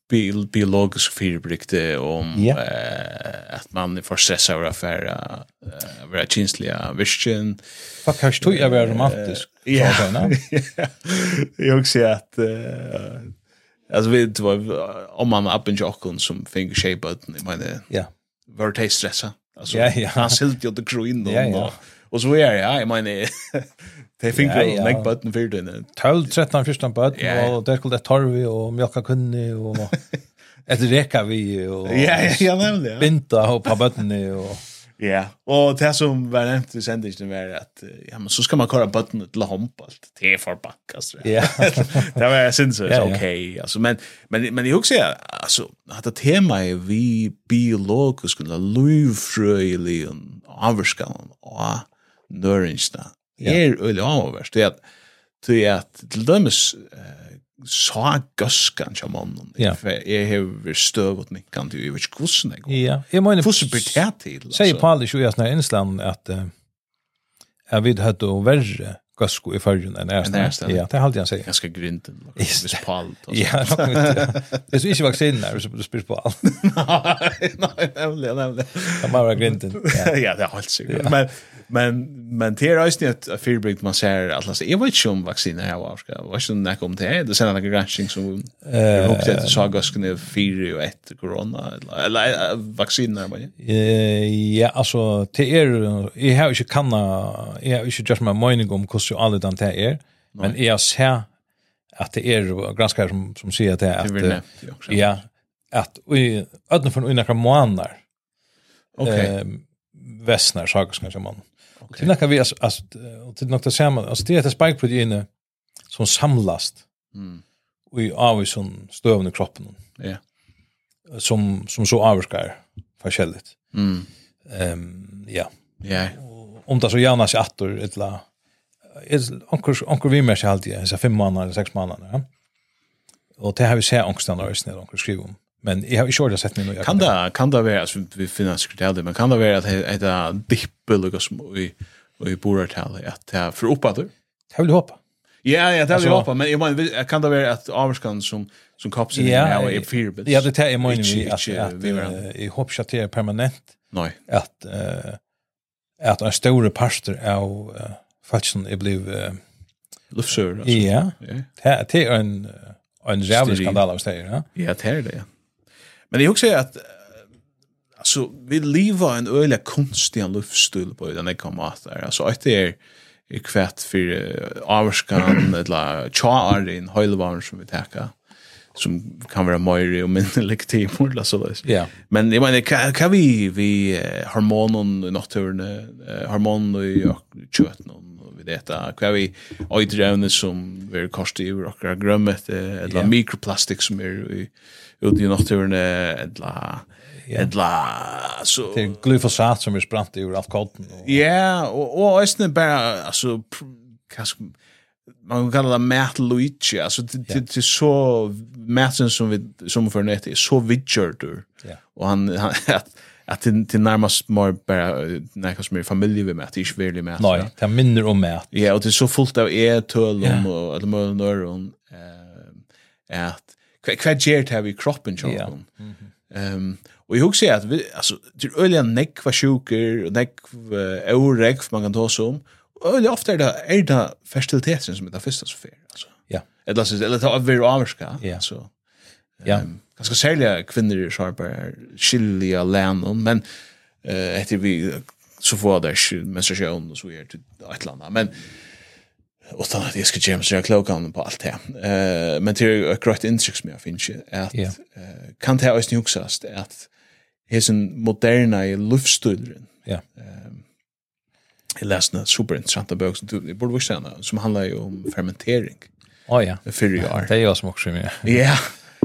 Speaker 1: bil um biologisk fyrbrikte om
Speaker 2: Ja.
Speaker 1: eh, att man får stressa över affära eh, vara känsliga visken
Speaker 2: Fuck, har ikke tog jeg være romantisk.
Speaker 1: Eh, ja.
Speaker 2: sa jeg nå.
Speaker 1: [LAUGHS] jag också att eh, alltså vi det var om man appen jocken som finger shape button i mina
Speaker 2: Ja.
Speaker 1: var det stressa alltså
Speaker 2: Ja, ja.
Speaker 1: han sålt ju det grön
Speaker 2: Ja, ja.
Speaker 1: och och så är det ja jag menar [LAUGHS] det fingrar
Speaker 2: Ja, ja.
Speaker 1: ja, ja. button för den
Speaker 2: 12, 13, 14 på ett,
Speaker 1: Ja, ja.
Speaker 2: og der skulle det torvi og mjölka kunni
Speaker 1: [LAUGHS]
Speaker 2: og et reka vi og
Speaker 1: ja ja ja nämligen ja.
Speaker 2: binta og på bøttene og
Speaker 1: Ja, og det som var nevnt i sendingen var at eh, ja, men så skal man kåre bøttene til håndballt. Det er for bakkast. [LAUGHS]
Speaker 2: Ja.
Speaker 1: det var sinnssykt,
Speaker 2: Ja, ja.
Speaker 1: ok. Altså, men, men, men jeg husker, altså, at det temaet vi biologisk, eller livfrøyelig, avvarskene og nøringene,
Speaker 2: Ja.
Speaker 1: er øyelig avvarsk. Det er at, det er at til dømes eh, sa gøskan til mannen.
Speaker 2: Ja.
Speaker 1: Jeg har vært støvet nikkant, jeg vet ikke hvordan jeg går.
Speaker 2: ja, jeg mener
Speaker 1: Hvordan blir det til?
Speaker 2: Sier
Speaker 1: altså?
Speaker 2: Pauli jo i sånne innsland at eh, jeg vid høyt og verre gøsko i fargen enn
Speaker 1: Enn
Speaker 2: er
Speaker 1: ærstand.
Speaker 2: Ja, det er halvt han
Speaker 1: [LAUGHS]
Speaker 2: [LAUGHS] sier.
Speaker 1: ganska grinten
Speaker 2: Just
Speaker 1: liksom pall och [LAUGHS] så.
Speaker 2: Ja, nok mitt, ja. Hvis du ikke vaksinen er, så spyrs på alt.
Speaker 1: Nej, nej, nämligen, nämligen.
Speaker 2: Det må være grinten.
Speaker 1: [LAUGHS]
Speaker 2: Ja.
Speaker 1: Ja, det är helt säkert. Men men men er det är ju inte att Fearbrick man säger att alltså jag vet inte om vacciner här var ska. Vad ska det om det? Det sen några granskning som
Speaker 2: Eh,
Speaker 1: jag hoppas att så går ska nu fyra och ett corona eller- eller eh, vacciner men.
Speaker 2: Eh, ja, altså, det er, jeg har ikke kanna, jeg har ikke gjort meg mening om hvordan alle den det er, men jeg har sett at det er granskere som, som sier at det
Speaker 1: Det
Speaker 2: er
Speaker 1: vill
Speaker 2: at,
Speaker 1: nämnt ju också.
Speaker 2: eh, ja, at i ødne for noen akkurat måneder, eh,
Speaker 1: Okej.
Speaker 2: vestner, saker som kanskje måneder. Det er noe vi, altså, altså, og det er nok det samme, altså, det er et spikeprotein som samlast
Speaker 1: Mm.
Speaker 2: i avvisen støvende kroppen,
Speaker 1: Ja.
Speaker 2: som, som så avskar forskjelligt.
Speaker 1: Mm.
Speaker 2: Um, ja.
Speaker 1: Ja.
Speaker 2: om det så gärna sig attor etla onkur onkur vi mer sig alltid så fem månader eller sex månader ja. Och det har vi sett onkur stannar just när er onkur skriver om. Men jag har ju kört sett nu jag
Speaker 1: Kan det kan det vara alltså vi finner sekretär det men kan det vara att det är dippel och så i i borartal att det är för uppåt.
Speaker 2: Jag vill hoppa.
Speaker 1: Ja, ja, det vill
Speaker 2: Alltså-
Speaker 1: jag hoppa, men jag menar, kan det vara att avskan som, som kapsen
Speaker 2: Ja,
Speaker 1: yeah, är
Speaker 2: eh,
Speaker 1: fyrbits?
Speaker 2: Ja, det tar jag menar
Speaker 1: Ikke-
Speaker 2: vi att
Speaker 1: ikke vi hverandre.
Speaker 2: att i hopp att det är er permanent
Speaker 1: Nej,
Speaker 2: att eh att en stor pastor av eh, faktiskt är blev eh,
Speaker 1: luftsurr. Alltså.
Speaker 2: ja
Speaker 1: Ja.
Speaker 2: det det är en eh, en jävla
Speaker 1: Steril.
Speaker 2: skandal av sig ja.
Speaker 1: Ja, det är det, ja. Men jag också att eh, alltså vi lever en öliga konstiga livsstil på den här kamater. Alltså att det är i kvätt för eh, [CLEARS THROAT] avskan eller tjarin höjlvarn som vi täcker som kan vara mer och mindre lektivor [LAUGHS] eller så där.
Speaker 2: Ja.
Speaker 1: Men jag menar kan, kan vi vi eh, hormonen i naturen eh, hormonen i kött någon vi vet att kan vi öjdrövne som vi kostar i våra grömmet eh, eller
Speaker 2: Ja.
Speaker 1: mikroplastik som är i ute i naturen eh, eller eller så
Speaker 2: Det är er glyfosat som är sprant ur alkoholen. och-
Speaker 1: Ja, og, og østene bare, altså, kanskje, man kan kalla det Matt Luigi, altså, til, til, til så, Matten som vi, som vi fører ned til, er så vidgjørter,
Speaker 2: Ja.
Speaker 1: og han, han [LAUGHS] at, at til, til nærmest mer bare, nekka som er familie vi Matt, ikke virkelig Matt.
Speaker 2: Nej, det minner om mig att
Speaker 1: Ja, og det er så fullt av e-tøl
Speaker 2: Ja.
Speaker 1: og alle mulige nøron, eh, at hva, hva gjør det her vi kroppen
Speaker 2: Ja. Mhm.
Speaker 1: kjøkken? Ehm och jag husar att vi alltså det er är öliga neck var sjuker och neck oreg man kan ta så om. Öliga ofta är er det är det fertiliteten som är det första så fel alltså.
Speaker 2: Ja.
Speaker 1: Eller så eller ta över avska.
Speaker 2: Ja.
Speaker 1: Så
Speaker 2: Ja.
Speaker 1: ganska sälja kvinnor i er sharpare skilliga länen men eh heter vi så får det menstruation och så är det ett land men utan att jag ska ge mig så jag klokar på allt det. Eh men det är ju ett korrekt intryck som jag finns ju att
Speaker 2: Ja.
Speaker 1: eh, kan det här också huxas att hesen moderna i luftstudier.
Speaker 2: Ja.
Speaker 1: Ehm jag läste en superintressant bok som du borde vara känna som handlar ju om fermentering
Speaker 2: Åh Ah, ja.
Speaker 1: för i år.
Speaker 2: Det är jag som också är med.
Speaker 1: Ja.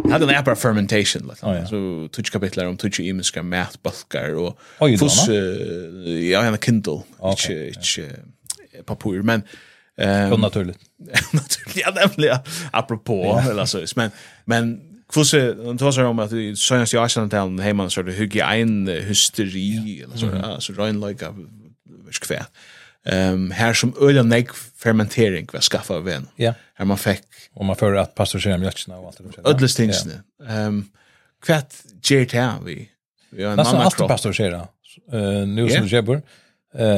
Speaker 1: Jag hade en app fermentation liksom.
Speaker 2: Ja, ja.
Speaker 1: Så touch kapitlar om touch imiska mätbalkar och
Speaker 2: Oj då,
Speaker 1: fuss eh, ja, jag har en Kindle.
Speaker 2: Okej,
Speaker 1: Inte inte eh, papper men ehm [LAUGHS]
Speaker 2: Ja. Naturligt.
Speaker 1: naturligt ja, nämligen apropå eller så men men eh, Kvose, de tar sig om att i senast i Arsenal-talen hemma så är det hygien, eh, hysteri, eller så, mm. alltså röjnlöjk av skvätt. Um, här som öl och negg fermentering var skaffa av en.
Speaker 2: Ja.
Speaker 1: Här man fick
Speaker 2: Om man för att pastorisera mjölkna och allt det där.
Speaker 1: ödles tingsne. Ehm kvat ger det här vi. Vi har en
Speaker 2: Nästan
Speaker 1: annan
Speaker 2: allt
Speaker 1: kropp.
Speaker 2: pastorisera. Eh nu
Speaker 1: Ja.
Speaker 2: som du köper.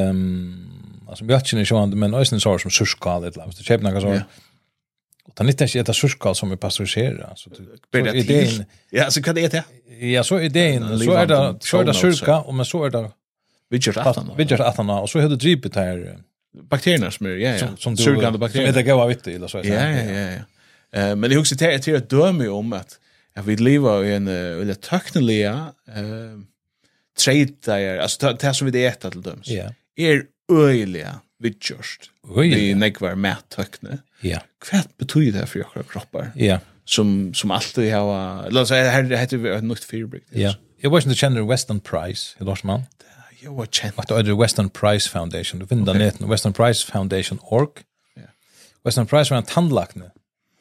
Speaker 2: Ehm alltså mjölkna är sjön men ösnen sår som surskal eller något. Du köper
Speaker 1: Ja.
Speaker 2: något så. Och ta inte äta surskal som är pastoriserat så du
Speaker 1: Ber
Speaker 2: så
Speaker 1: det
Speaker 2: idén
Speaker 1: till. Ja, så kan det äta.
Speaker 2: ja så idén så är
Speaker 1: livande
Speaker 2: det så är det
Speaker 1: sjón
Speaker 2: surka och men så är det
Speaker 1: Vi gör aftan.
Speaker 2: vidger att han och så hade dripet här eh,
Speaker 1: Bakterierna som är, ja, ja.
Speaker 2: som som du
Speaker 1: Surgande
Speaker 2: Som heter
Speaker 1: bakterier.
Speaker 2: goa vitt eller så är det.
Speaker 1: Ja, ja, ja. ja. Eh, Men det är också till till att döma om att att vi lever i en eh, väldigt teknoliga eh trade alltså det- det som vi äter till döms.
Speaker 2: Ja.
Speaker 1: Är öjliga vidgjörst.
Speaker 2: Öjliga.
Speaker 1: Vi nekvar mättökne.
Speaker 2: Ja.
Speaker 1: Kvätt betyder det för våra kroppar?
Speaker 2: Ja.
Speaker 1: Som, som alltid har... Låt oss säga, här heter vi ett nytt fyrbryck.
Speaker 2: Ja. Jag vet inte känner Western Price, i Larsman.
Speaker 1: Jo, jag känner.
Speaker 2: Att det är Western Price Foundation. Du finner okay. den Western Price Foundation.org.
Speaker 1: Ja.
Speaker 2: Western Price var en tandlakne.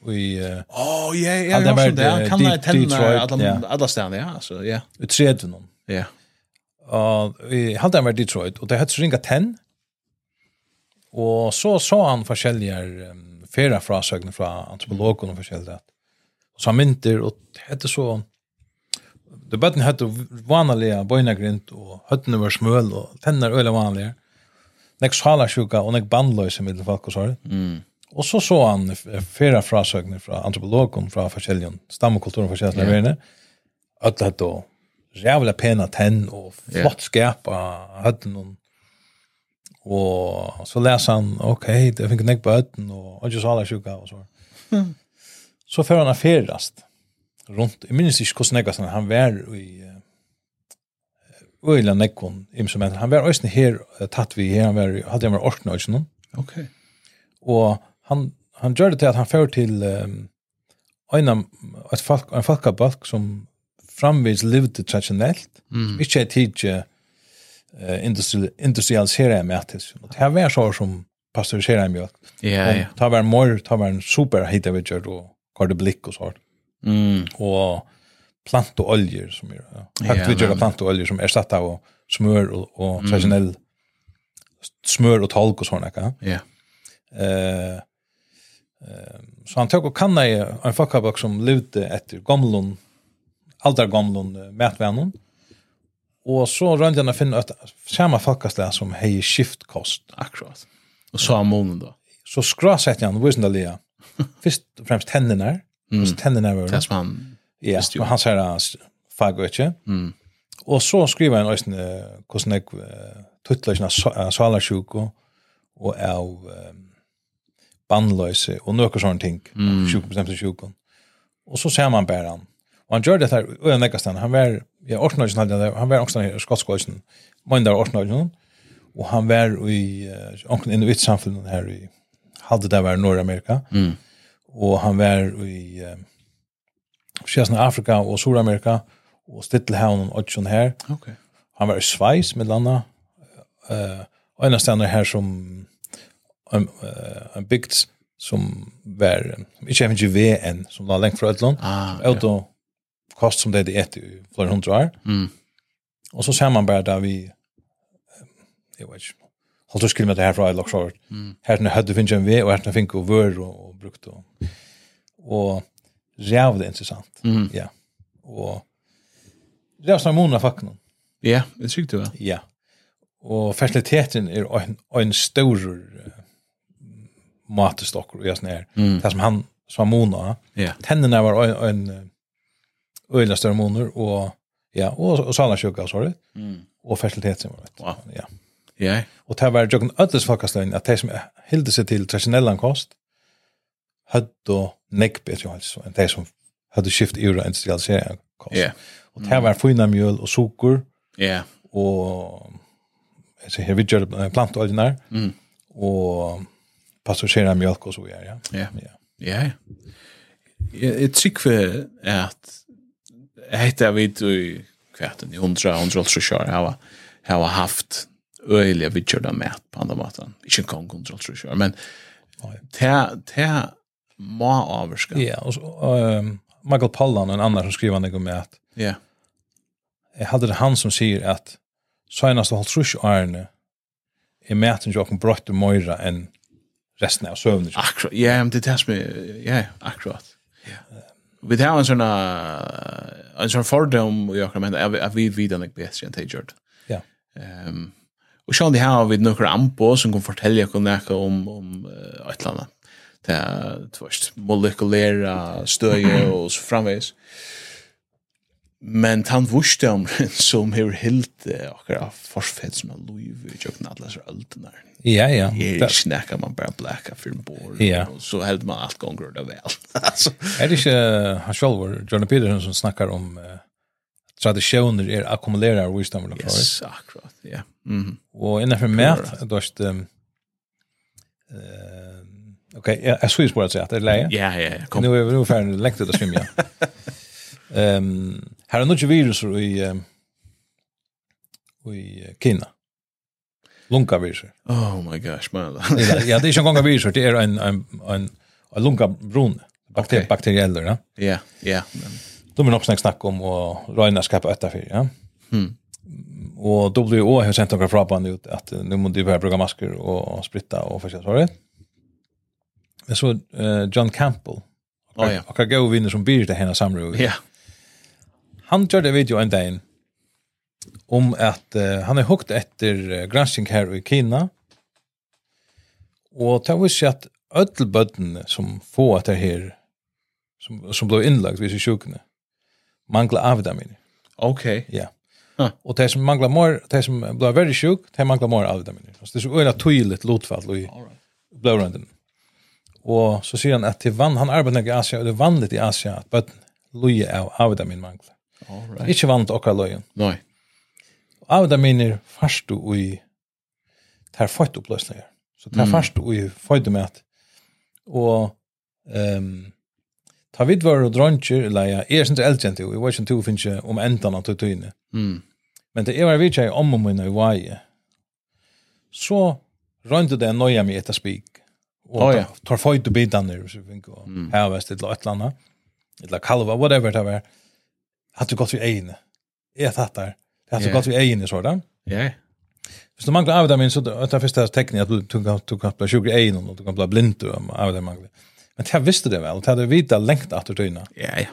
Speaker 2: Vi eh,
Speaker 1: Åh, oh, ja, ja,
Speaker 2: Ja, det
Speaker 1: jag
Speaker 2: var
Speaker 1: var det.
Speaker 2: det,
Speaker 1: Han kan
Speaker 2: Deep-
Speaker 1: lära tänna
Speaker 2: Detroit, ja.
Speaker 1: alla, alla ställen, ja. Så, ja.
Speaker 2: i tredje någon.
Speaker 1: ja.
Speaker 2: Og vi halda han var i Detroit, og det hette Ringa 10. Og så så han forskjellige um, fera frasøgne fra antropologen og forskjellige rett. Og så han mynter, og det hette så... Det bøtten hette vanlige bøynagrynt, og høttene var smøl, og tenner øyla vanlige. Nek salarsjuka, og nek bandløys i middelfalk og sorg.
Speaker 1: Mm.
Speaker 2: Og så så han f- eh, fera frasøgne fra antropologen, fra forskjellige stammekulturen, forskjellige yeah. verene. Alle hette og rævla pena tenn, og flott skap av høtten, og Og så leser han, ok, det fikk nek på øtten, og ikke så alle sjuka, og så. Så før han er ferrast rundt, jeg minnes ikke hvordan nek, han var eh, i øyla nekkon, imsumenter. han var øyne her, eh, tatt vi her, han var, i- hadde han vært orkna øyne,
Speaker 1: Okej.
Speaker 2: og han, han gjør det til at han fører til um, en, et folk, en folkabalk som framvis levde traditionellt,
Speaker 1: Mm.
Speaker 2: ikke er tidlig uh, industri, industrialisere med at det. Og Det her var så som pasteuriserer mjölk.
Speaker 1: Ja, ja.
Speaker 2: Ta var en mor, ta var en super hit av gjør og kvar blikk og sånt.
Speaker 1: Mm.
Speaker 2: Og plant og oljer som er. Ja. Hakt vi gjør
Speaker 1: men-
Speaker 2: plant og oljer som er satt av og smør og, og traditionell smør og talg og sånt. Ja.
Speaker 1: Ja.
Speaker 2: Eh, eh, så han tog og kanna i en folkabak som levde etter gamlun, aldar gamlun eh, mätvännon. Og så rönde han å finne at samme folkastle som hei skiftkost.
Speaker 1: Akkurat. Och så har månen då.
Speaker 2: Så skrasette han, visst lia, først og fremst hendene, mm. hendene var
Speaker 1: Det som han...
Speaker 2: Ja,
Speaker 1: Visst jo.
Speaker 2: og han sier hans fagøtje.
Speaker 1: Mm.
Speaker 2: Og så skriver han også eh, hvordan jeg tuttler ikke salarsjuko og av eh, bandløse og noen sånne ting. Mm. Sjuko bestemte sjuko. Og så ser man bare han. Og han gjør det her, og jeg nekker stedet, han var, ja, Orknøysen hadde det, han var også i Skotskøysen, Møndar Orknøysen, og han var i, uh, inne i samfunnet her i, hadde det vært Nordamerika,
Speaker 1: Mm.
Speaker 2: og han var i eh, Sjæsna Afrika og Sydamerika og Stillehavn og Otsjon her.
Speaker 1: Okej.
Speaker 2: Han var i Sveis med landa. Eh og en av stedene her som en uh, bygd som var eh, ikke even GVN som la lengt fra Øtland.
Speaker 1: Ah, ja.
Speaker 2: Auto kost som det de et i flere hundre år.
Speaker 1: Mm.
Speaker 2: Og så ser man bare der vi eh, jeg vet ikke halvt oss kilometer herfra i Loksjord. Mm. Her hadde finnes en vei, og her finnes en vør og, og brukt. Og, og rævlig interessant.
Speaker 1: Mm.
Speaker 2: Ja. Og rævlig som måneder faktisk noen.
Speaker 1: Ja, det tycker du va?
Speaker 2: Ja. Og fertiliteten er en, en stor uh, matestokker, og jeg sånn her.
Speaker 1: Mm.
Speaker 2: Det er som han som måneder.
Speaker 1: Ja.
Speaker 2: Tennene var en, en eh, øyla større måneder, og ja, og, og salarsjuka, sorry,
Speaker 1: Mm.
Speaker 2: og fertiliteten var det.
Speaker 1: Wow.
Speaker 2: Ja.
Speaker 1: Ja.
Speaker 2: Og det var jokken ödles folkasløgn at de som hilde seg til traditionella kost hadde nekk bedre helse enn de som hadde skift i ura industrialisering kost.
Speaker 1: Ja. Mm.
Speaker 2: Og det var fina mjöl og sukur
Speaker 1: Ja.
Speaker 2: og jeg ser her vi gjør eh, planteoljenar
Speaker 1: Mm.
Speaker 2: og passagerar mjölk og så videre. Ja.
Speaker 1: Ja.
Speaker 2: ja.
Speaker 1: Ja. ja. Jeg jeg tykker at hetta við du kvært í 100 100 så sjá hava hava haft øyliga vitjur med på andra måten. Ikke kan kontroll så sjá, men
Speaker 2: Nei.
Speaker 1: te te må avskriva.
Speaker 2: Ja, og så, ehm, Michael Pollan og en annan som skriver noe med at eh,
Speaker 1: Ja.
Speaker 2: jeg hadde det han som sier at senast og halvtrus årene er mæten jo åkken brøtt og møyra enn resten av søvnet.
Speaker 1: Akkurat. Ja, men det tas med ja, akkurat. Ja. Vi tar en sånn eh, en sånn fordom i akkurat, men at vi vet den ikke bedre enn det gjør det.
Speaker 2: Ja.
Speaker 1: Ehm och sjön det här har vi några ambo som kan fortälja kan näka om om eh, ett land. Det är först molekylära stöje och så framvis. Men han vuxte om [LAUGHS] som hur helt akkurat forfett som har liv i jökna alla så ölderna.
Speaker 2: Ja, ja.
Speaker 1: Det
Speaker 2: Det,
Speaker 1: är snäcka man bara blacka för en bord
Speaker 2: Ja.
Speaker 1: och så held man allt gånger det väl. [LAUGHS] alltså
Speaker 2: er det ikke eh, han selv, Jordan Peterson, som snakker om eh, tradisjoner er akkumulerer visdom og klare.
Speaker 1: yes, akkurat. Ja. Mhm.
Speaker 2: Og eh, innenfor mæt, du har ikke... eh, Ok, jeg, jeg skulle spørre til at det er leie.
Speaker 1: Ja, ja, ja, kom.
Speaker 2: Nu är vi nog färdiga längt ut att svimja.
Speaker 1: [LAUGHS]
Speaker 2: Ehm här är nog virus i ehm, i Kina. Lunka
Speaker 1: [LAUGHS]
Speaker 2: virus.
Speaker 1: Oh my gosh, man. [LAUGHS]
Speaker 2: Ja, det er är ju en gång av virus, det är en en en en lunka brun bakter
Speaker 1: Okej.
Speaker 2: bakteriell ja.
Speaker 1: Ja, ja. men-
Speaker 2: De vill också snack snacka om och Reina skapa ötta för, ja.
Speaker 1: Mm.
Speaker 2: Och WHO har sent några frågor ut att eh, nu måste vi börja bruka masker och spritta och försöka så det. Men så eh, John Campbell.
Speaker 1: Ja, ja.
Speaker 2: Och jag går vinner som blir det här samrådet.
Speaker 1: Ja.
Speaker 2: han gjorde en video en dag om att eh, han är hukt efter uh, granskning här i Kina. Och det var så att öll bötten som får att det här som, som blev inlagt vid sig sjukna manglar A-vitaminer.
Speaker 1: Okej.
Speaker 2: Ja.
Speaker 1: Huh.
Speaker 2: Och det som manglar mer, det som blev väldigt sjuk, det manglar mer A-vitaminer. Så det är så öjla tydligt lotfall i
Speaker 1: All right.
Speaker 2: blåranden. Och så säger han att till vann, han arbetar i Asien, och det är vanligt i Asien att bötten loja av A-vitaminmanglar.
Speaker 1: All
Speaker 2: Det
Speaker 1: right.
Speaker 2: är inte vanligt åka lojen.
Speaker 1: Nej.
Speaker 2: av det minner fast du i tar fått upplösningar. Så tar
Speaker 1: Mm.
Speaker 2: fast du i fått med att och ehm ta vid var och dronjer eller ja, är inte äldre till. Vi var inte till finns om ändan att ta inne.
Speaker 1: Mm.
Speaker 2: Men det är vad vi tjej om och mina i varje. Så rönte det noja med ett spik. Och
Speaker 1: Åja.
Speaker 2: tar- tar fått du bitan nu så vi går. Här var det ett landa. Eller kalva whatever det var. er Hade du gått vid egen. Är tattar. Det hade
Speaker 1: Ja.
Speaker 2: du gått vid egen så där.
Speaker 1: Ja.
Speaker 2: Hvis du mangler avdamin, så er det første teknik at du, du, kan, du kan bli sjuk i egen, og du kan bli blind om avdamin mangler. Men det visste det vel, det hadde vita lengt at du tøyna.
Speaker 1: Ja, ja.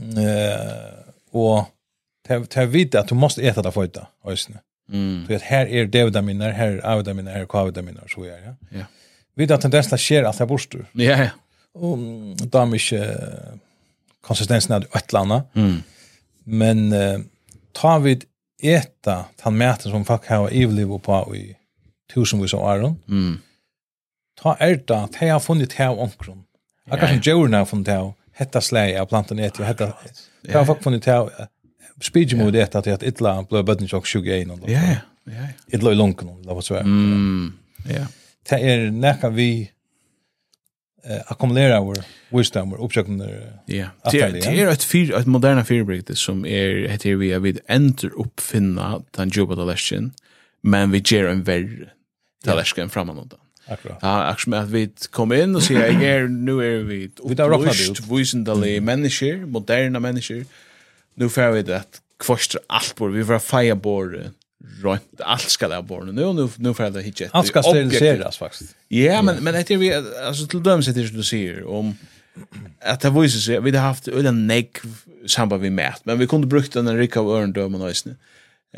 Speaker 2: Eh, og det hadde vita at du måste eta det føyta, øysene.
Speaker 1: Mm.
Speaker 2: Så at her er D-vitaminer, her er A-vitaminer, her er K-vitaminer, så er det.
Speaker 1: Ja.
Speaker 2: Vita at tendensen skjer at det er borster.
Speaker 1: Ja, ja.
Speaker 2: Og mm, da er ikke eh, konsistensen av et eller annet.
Speaker 1: Mm.
Speaker 2: Men eh, ta vid eta den maten som folk har ivliv på i tusenvis av åren,
Speaker 1: Mm.
Speaker 2: ta erta er at hei har funnet hei av onkron. Akkurat som djurene har funnet hei av hetta slei av planten et jo hetta. Hei har folk funnet hei av eh, spidjemod et at et illa blei bøtten tjokk 21 og
Speaker 1: Ja, ja. Ja, ja.
Speaker 2: illa i lunken og lov svært.
Speaker 1: Mm. Ja.
Speaker 2: Det er nekka vi eh, akkumulera vår wisdom er og oppsøkner
Speaker 1: Ja.
Speaker 2: Att
Speaker 1: Det är
Speaker 2: det är.
Speaker 1: det är ett fyr ett moderna fyrbrygde som är heter vi vid enter uppfinna den jobba delestion men vi ger en värre delestion framåt då.
Speaker 2: akkurat.
Speaker 1: Ja, akkurat med att vi kom in och säger jag är nu är er- vi
Speaker 2: Vi tar rockna det
Speaker 1: upplyst, visendali människor, moderna människor. Nu får vi det att kvostra allt bort, vi får feja bort rönt, allt ska det bort nu, nu, nu får jag det hitcha
Speaker 2: Allt ska steriliseras faktiskt.
Speaker 1: Ja, men, men det är vi, alltså till döms det är som du säger, om att det visar sig, vi har haft öliga negg samband med mät, men vi kunde brukt den här rika av örendömen och ösne,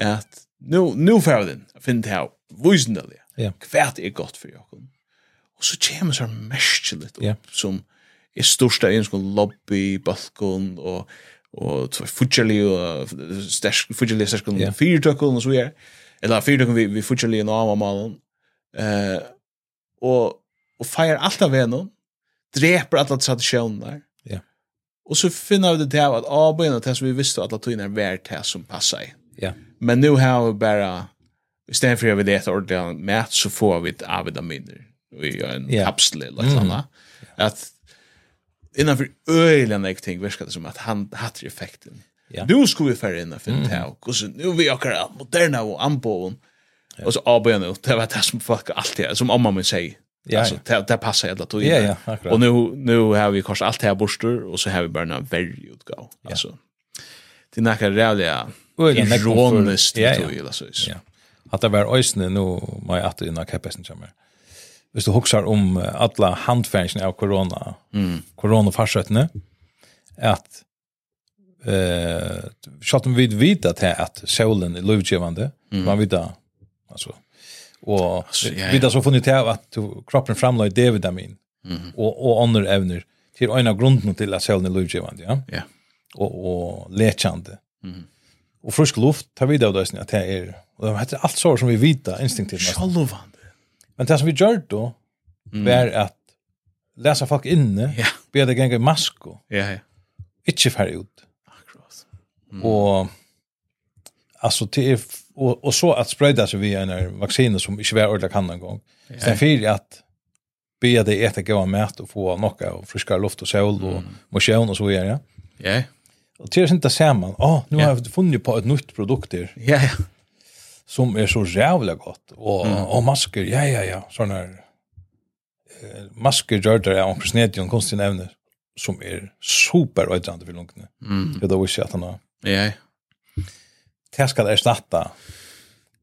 Speaker 1: att nu, nu får vi den, finna det här, visendali
Speaker 2: Ja.
Speaker 1: kvært er godt for jokken. Og så kommer så merkeligt opp,
Speaker 2: Ja.
Speaker 1: som er største i en sånn lobby, balkon, og, og fudgelig, og stersk, fudgelig stersk,
Speaker 2: Ja.
Speaker 1: og fyrtøkken, og så er. eller fyra vi vi fortsätter lina av malen. Eh och och firar allt av venom. Dreper alla traditioner.
Speaker 2: Ja.
Speaker 1: Och så finner vi det här att avböjna det som vi visste att alla er tog in är värt det som passar i.
Speaker 2: Ja.
Speaker 1: Men nu har vi bara istället för att vi letar ordentligt mat så får vi ett avitaminer och vi gör en
Speaker 2: Ja. Mm.
Speaker 1: kapsel eller något annat. Att innanför öjliga näck ting verkar det som att han hattar effekten.
Speaker 2: Ja.
Speaker 1: Nu ska vi färre innanför mm. det här och så nu är vi åker moderna och anbågen och så avböjer nu. Det var det som folk alltid är, som mamma min säger.
Speaker 2: Ja,
Speaker 1: alltså,
Speaker 2: ja.
Speaker 1: Det, det passar jävla tog in.
Speaker 2: Ja, ja, akkurat.
Speaker 1: Och nu, nu har vi kanske allt det här borster och så har vi bara en värre utgång. Alltså, det är näkare rävliga
Speaker 2: Öjliga näck för-
Speaker 1: ironiskt.
Speaker 2: Ja,
Speaker 1: Ja,
Speaker 2: ja.
Speaker 1: ja.
Speaker 2: Ja. Att det var ösnen nu må jag att innan kapaciteten kommer. Hvis du huxar om eh, alla handfärgen av corona, mm. coronafarsötene, att eh skott vi vet att det att solen är lovgivande. er Man vet det. Alltså och
Speaker 1: Alltså, ja, ja.
Speaker 2: vi där så funnit det att du- kroppen framlägger D-vitamin och och andra ämnen till en av grunderna till att solen är lovgivande, er ja
Speaker 1: Ja.
Speaker 2: og, og lekjande.
Speaker 1: Mhm.
Speaker 2: Og frisk luft tar vi det av døsning at det er, og det heter alt sår som vi vita instinktivt. mest.
Speaker 1: Sjálvande.
Speaker 2: Men det som vi gjør då, var at lesa folk inne,
Speaker 1: Mhm. Ja.
Speaker 2: be det genge i masko,
Speaker 1: Ja, ja.
Speaker 2: ikke færre ut.
Speaker 1: Akkurat.
Speaker 2: Og, altså, det er, f- og, og så at sprøyda seg via en vaksine som ikke var ordentlig kan en gang. Så det er fyrir at be det etter gav mat og få nokka og friskare luft og sol og
Speaker 1: Mhm.
Speaker 2: motion og så videre. Ja.
Speaker 1: Ja,
Speaker 2: Og til å sinte saman, åh, nu
Speaker 1: Ja.
Speaker 2: har vi funnet på et nytt produkt her,
Speaker 1: ja, ja.
Speaker 2: som er så rævlig godt, og,
Speaker 1: Mm.
Speaker 2: og masker, ja, ja, ja, sånne her, eh, masker gjør det av omkring snedjon, kunstig nevner, som er super øydrande for lungene.
Speaker 1: Mm.
Speaker 2: Det er da visst at han har,
Speaker 1: Ja.
Speaker 2: det skal erstatte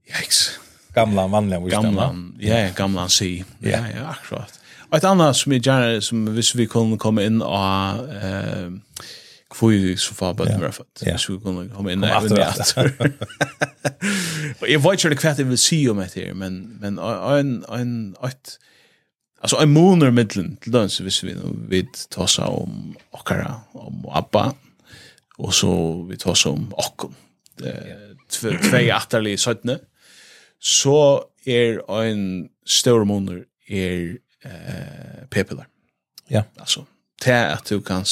Speaker 1: Yikes.
Speaker 2: gamla, vanliga visdomar.
Speaker 1: Gamlan. Ja, ja, gamlan si.
Speaker 2: Ja.
Speaker 1: Ja, ja, akkurat. Og et annet som jeg gjerne, som hvis vi kunne komme inn og eh, hvor vi så far bøtten var født.
Speaker 2: Ja.
Speaker 1: Hvis vi kunne komme inn
Speaker 2: Kom
Speaker 1: og
Speaker 2: aftur,
Speaker 1: inn [LAUGHS] Og jeg vet ikke hva jeg vil si om dette her, men, men en, en, et, altså en måneder middelen til døgn, så hvis vi nå vidt ta seg om okkara, om Abba, og så vi tar oss om okkom. eh, Tvei atterlig søttene. Så er en større måneder er eh, p-piller.
Speaker 2: Ja.
Speaker 1: Altså, til at du kan,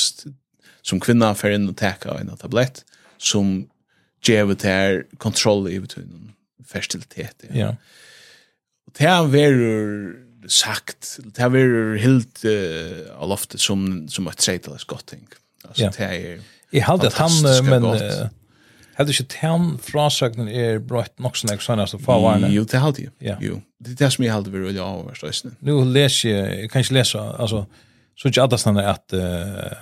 Speaker 1: som kvinna fer inn og teka en tablett, som gjev til kontroll i betydningen, fertilitet.
Speaker 2: Ja,
Speaker 1: Det har vært sagt, det har vært helt eh, av loftet som, som et tredjeles godt ting. Altså,
Speaker 2: Ja.
Speaker 1: det er...
Speaker 2: jeg halde at han, eh,
Speaker 1: Fantastiska
Speaker 2: men,
Speaker 1: gott.
Speaker 2: eh, heldig ikke til han frasøknen er brøtt nok som jeg sånn, altså, favarne.
Speaker 1: Jo, det er alltid.
Speaker 2: Ja.
Speaker 1: Jo. Det er det som jeg alltid vil veldig avhverst øyne.
Speaker 2: nu läser jag, jag kanske läsa, alltså, så er inte alla stannar att uh,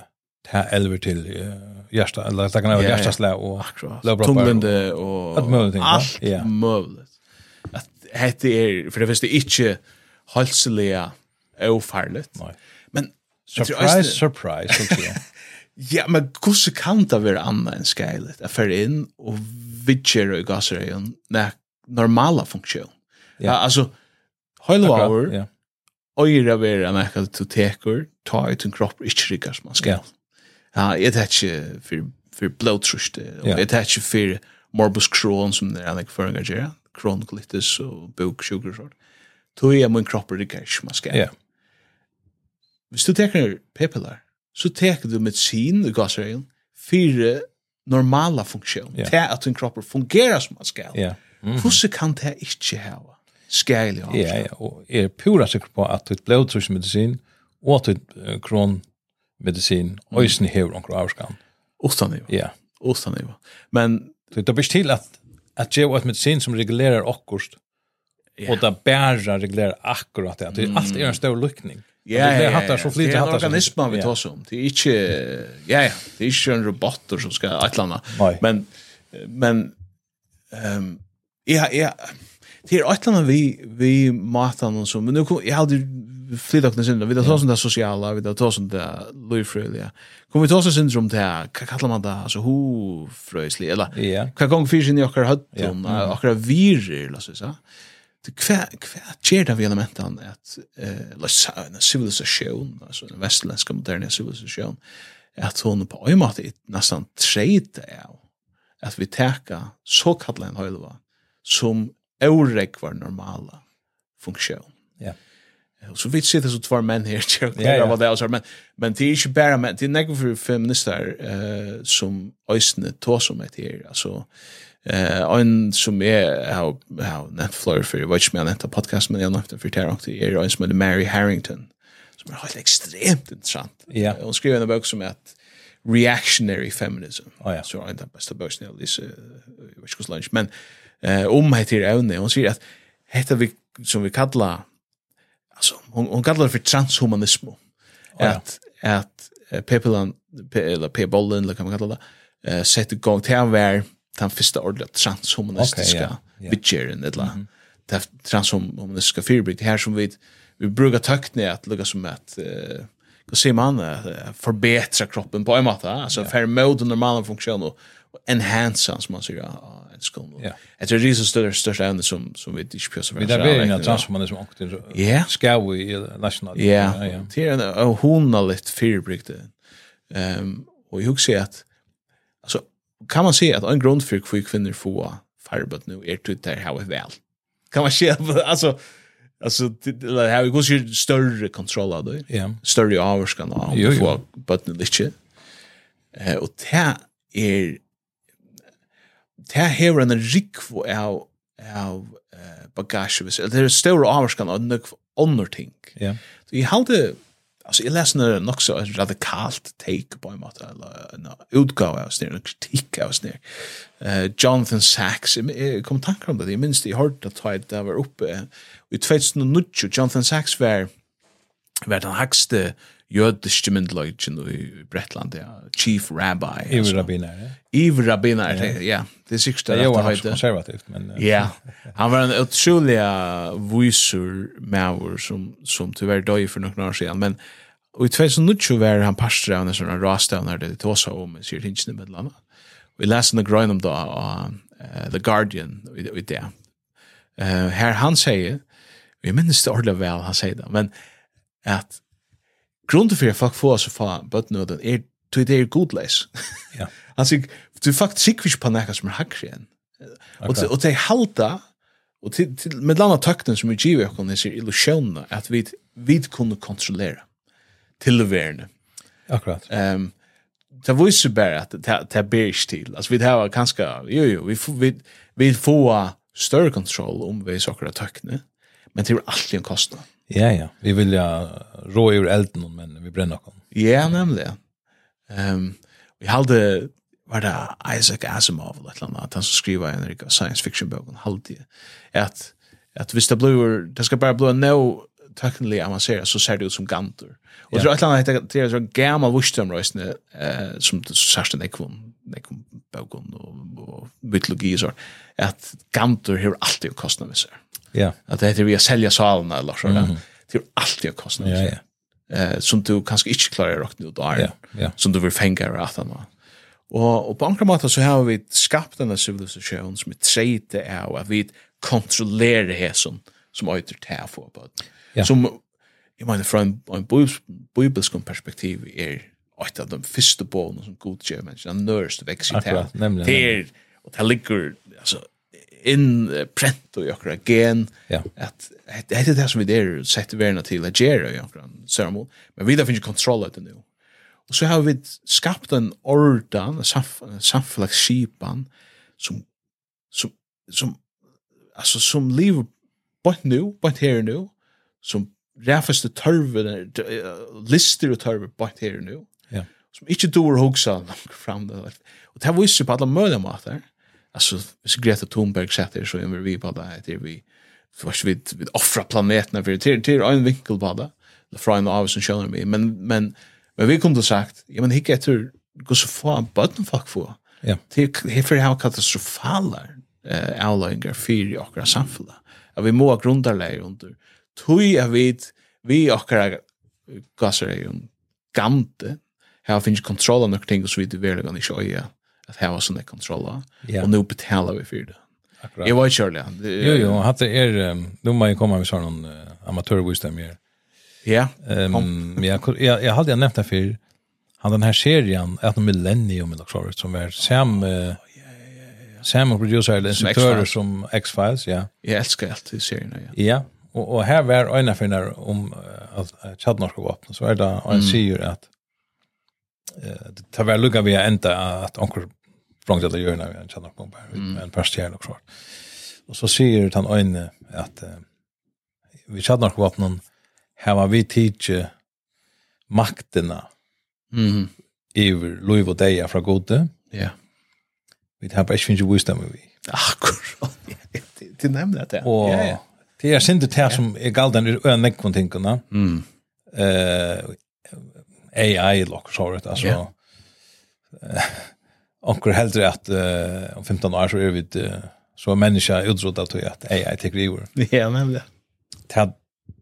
Speaker 2: ta elver till uh, hjärsta, eller det kan vara
Speaker 1: Ja, ja.
Speaker 2: hjärtaslä och
Speaker 1: Akkurat.
Speaker 2: Lövbroppar
Speaker 1: Tunglende og...
Speaker 2: Alt mulig ting, va?
Speaker 1: Alt
Speaker 2: Ja.
Speaker 1: mulig. At hette er, for det første ikke halselige og farligt.
Speaker 2: Nej.
Speaker 1: Men... jeg tror
Speaker 2: surprise,
Speaker 1: eisne-
Speaker 2: surprise,
Speaker 1: [LAUGHS]
Speaker 2: så att säga.
Speaker 1: Ja, men hvordan kan det være annet enn skeilet? Jeg fer inn og vidger og gasser i en nei, normala funksjon.
Speaker 2: Ja.
Speaker 1: Ja. altså, høylo over,
Speaker 2: Ja,
Speaker 1: øyre vera nekka du teker, ta ut en um kropp er ikke rikker som man skal. Ja, jeg tar ikke for, for blodtruste, og
Speaker 2: Ja.
Speaker 1: jeg tar ikke for morbus Crohn som det er nekka føringer gjør, kronikolitis og buksjukker og sånt. Tog jeg min er kropp rikker ikke som man skal.
Speaker 2: ja,
Speaker 1: Hvis du teker p-piller, så teker du medisin i gasregelen for normala funksjon,
Speaker 2: Ja.
Speaker 1: til at din kropp fungerer som man skal.
Speaker 2: ja.
Speaker 1: Hvordan kan det ikke hava? Skal jeg
Speaker 2: Ja, ja, og er pura sikker på at ditt blodtryksmedicin og ditt eh, kronmedicin øysen hever onkur avskan.
Speaker 1: Utan nivå.
Speaker 2: Ja.
Speaker 1: Utan nivå. Men
Speaker 2: Så det blir til at at det er et medicin som regulerer okkurst,
Speaker 1: Ja. Mm.
Speaker 2: og det bare regulerer akkurat det. Det er alt er en stor lykning.
Speaker 1: Ja, ja, ja.
Speaker 2: hattar så
Speaker 1: Det
Speaker 2: flyter
Speaker 1: er en
Speaker 2: hattar. som-
Speaker 1: organisme vi
Speaker 2: Ja.
Speaker 1: tar oss om. Det er ikke, ja, ja, det er ikke en robotter som skal et eller annet.
Speaker 2: Nei.
Speaker 1: Men, men, um, ja, ja, det er et eller annet vi, vi mater noen som, men nå kom, jeg hadde flyttet oss synder, vi tar oss om det sosiale, vi tar oss om det løyfrøyelige. Kom vi ta oss en synder om det, hva kaller man det, altså hofrøyslig, eller
Speaker 2: Ja.
Speaker 1: hva gong fyrir sin i okkar høttun, okkar virir, la oss si, hva, hva gjør det vi elementan at, eh, la oss si, en civilisasjon, altså en vestlenska moderne civilisasjon, at hun på en måte er nesten treite av at vi teka såkallan høylva som Eurek var normala Eh, funktion.
Speaker 2: Ja.
Speaker 1: Och så vi sitter så två män [LAUGHS] här tjär,
Speaker 2: Ja, ja.
Speaker 1: vad det är men men det är ju bara er men det är några för feminister eh som ösne tar som ett här alltså eh en som är how how net flow för vad jag menar inte podcast men jag har inte för det också är en som heter Mary Harrington er som är helt extremt intressant.
Speaker 2: Ja.
Speaker 1: Hon skriver en bok som är att reactionary feminism.
Speaker 2: Ah, Ja, ja.
Speaker 1: Så är det bästa börs när Lisa Wishkus lunch men eh om heter ävne hon säger att heter vi som vi kallar alltså hon hon kallar det för transhumanism.
Speaker 2: ja.
Speaker 1: Att att eh, Pepelan Pe- eller P bollen eller kan man kalla det eh sätter igång till han var den första ordentliga transhumanistiska
Speaker 2: Okej,
Speaker 1: okay,
Speaker 2: ja, Mhm. ja.
Speaker 1: bitcheren eller det transhumanistiska fyrbygd här som vi vi brukar tökna att lukka som att eh vad säger man eh, förbättra kroppen på en måte alltså yeah. för mode normala funktion och och enhance som man säger ja, en skon.
Speaker 2: Ja.
Speaker 1: Det är det som större största ämne som som vi diskuterar.
Speaker 2: Vi där blir en transhumanism och det
Speaker 1: Ja.
Speaker 2: ska vi i national.
Speaker 1: Ja,
Speaker 2: ja.
Speaker 1: det är en av honaligt fyrbrygde. Ehm och jag ser att alltså kan man se att en grund för hur kvinnor får farbad nu er är det där hur väl. Kan man se alltså alltså det har ju gått större kontroll av det.
Speaker 2: Ja.
Speaker 1: Större avskan av
Speaker 2: Jo,
Speaker 1: att
Speaker 2: jo.
Speaker 1: få button lite. Eh och det är det här är er- en rikvo av av eh, bagage. Det är större avskan av några andra ting.
Speaker 2: Ja.
Speaker 1: Så jeg halte, altså jeg leser noe nok så et radikalt take på en måte, eller en utgave av snir, en kritikk av snir. Eh, Jonathan Sachs, jeg, jeg kom um tanker om det, jeg minns det, jeg hørte at jeg da var oppe, og i 2009, Jonathan Sachs var, var den hakste jødiske myndelagjen i Bretland, ja, chief rabbi.
Speaker 2: Ju
Speaker 1: altså.
Speaker 2: rabbiner.
Speaker 1: Iver rabbinar, ja. ja, det er sikkert
Speaker 2: Det
Speaker 1: at
Speaker 2: är ju
Speaker 1: det
Speaker 2: annars
Speaker 1: heter.
Speaker 2: konservativt men eh,
Speaker 1: [LAUGHS] Ja. Han var en eh, otrolig visur maur som som tyvärr dog för några år sedan men och i 2009 var han pastor av en sån här rastavnar det tosa om i Syrien med landa. Vi läste en grön om då uh, The Guardian i det. Eh här han säger vi minns det ordentligt väl han säger det men att grunden för att folk får så fan but no den är till det är godless.
Speaker 2: Ja.
Speaker 1: Alltså du faktiskt sikvis på näka som är hackre än. Och det- och det halta och till, till med landa takten som vi ger och kan se illusionen att vi vi kunde kontrollera tillvärne.
Speaker 2: akkurat.
Speaker 1: Ehm det var ju bara att det det ber inte till. Alltså vi har ganska jo jo vi får vi vi får större kontroll om vi saker att takten. Men det är alltid en kostnad.
Speaker 2: Ja ja, vi vill ja rå ur elden men vi bränner kon.
Speaker 1: Ja, nemlig. Ehm vi hade var det Isaac Asimov eller ett annat han som skriver en riktig science fiction bok han hade att att visst det blir det ska bara bli no technically avancerat så ser det ut som gantor. Och
Speaker 2: Ja.
Speaker 1: det är ett annat det är så gammal vuxen rösten eh som särskilt det kom det kom boken och och mytologi så att gantor har alltid kostnader med sig.
Speaker 2: Ja.
Speaker 1: Att det heter vi att sälja salen eller så där. Det är alltid kostnader.
Speaker 2: Mhm. Ja ja.
Speaker 1: Eh som du kanske inte klarar rakt nu där
Speaker 2: Ja ja.
Speaker 1: som du vill fänga i att han Og, og på andre måter så har vi skapt denne civilisasjonen som er treite av at vi kontrollerer hesen som øyder til å få på det.
Speaker 2: Ja.
Speaker 1: Som, jeg mener, fra en, en bibels- bibelskom perspektiv er et av de første bådene som godgjør mennesker, den nørste vekst i
Speaker 2: Akkurat, nemlig,
Speaker 1: Det er, og det ligger, altså, innprent og i akkurat gen,
Speaker 2: Ja.
Speaker 1: at det det er det som vi der setter verna til å gjøre i akkurat ceremon, men vi da finner kontroll av det nå. Og så har vi skapt en ordan, en samf samflagsskipan, som, som, som, altså, som lever bort nu, bort her nu, som ræfaste tørve, eh, lister og tørve bort her nu,
Speaker 2: Ja.
Speaker 1: som ikke dår hugsa langt fram. det. Og det viser på alle mulige måter. Altså, hvis Greta Thunberg setter så er vi på det, det er vi, først vi, vi offrer planetene for det, det er en vinkel på det, eller fra en av oss som skjønner meg, men, men, men vi kom til sagt, ja, men ikke etter, gå så få en bøtten folk få.
Speaker 2: Ja.
Speaker 1: Det er her for jeg har katastrofaler eh, avløyngar fyrir i okkara samfunnet. At vi må ha grundarleir under. Tui at vi, vi i eh, okkara gasarleir gante, her finnes kontroll av nokre ting og så vidt i verlegan ikke øye at her var sånne kontroller.
Speaker 2: Ja.
Speaker 1: Og nå betalar vi fyrir det.
Speaker 2: Akkurat.
Speaker 1: Jeg var ikke kjørlig.
Speaker 2: Jo jo, hatt det är då man kommer med sån amatörvisdom här.
Speaker 1: Ja.
Speaker 2: Ehm jag jag jag hade jag nämnt det för
Speaker 1: Oh,
Speaker 2: han den här serien att de millennium eller så som är sam eh, Samme producer eller
Speaker 1: Som
Speaker 2: instruktører
Speaker 1: X-Files.
Speaker 2: som X-Files, ja.
Speaker 1: Jeg elsker alt i serien, ja.
Speaker 2: Ja, og, og her var øyne finner om eh, at eh, Tjadnor skal åpne, så er det
Speaker 1: Mm.
Speaker 2: han sier at eh, det tar vel lukka vi er enda at onker språngt eller hjørne vi en Tjadnor bomber,
Speaker 1: Mm.
Speaker 2: med en par stjerne og svart. Og så sier han øyne at eh, vi Tjadnor skal åpne, her var vi tidsi maktina
Speaker 1: Mhm.
Speaker 2: yfir loiv og deia fra gode,
Speaker 1: Ja.
Speaker 2: vi har bare ikke finnes jo wisdom i vi.
Speaker 1: Akkurat. [LAUGHS] Ja, det- Det nämnde jag det.
Speaker 2: Og
Speaker 1: Ja, ja.
Speaker 2: det er sindu det som er galdan ur øyne nekvon tingene,
Speaker 1: Mm.
Speaker 2: eh AI lock så vet eh, alltså.
Speaker 1: Ja.
Speaker 2: Yeah. Onkel hellre att eh, om 15 år så är vi ett, eh, så är människa utrotad att att AI tar över.
Speaker 1: Ja, nämnde jag.
Speaker 2: Det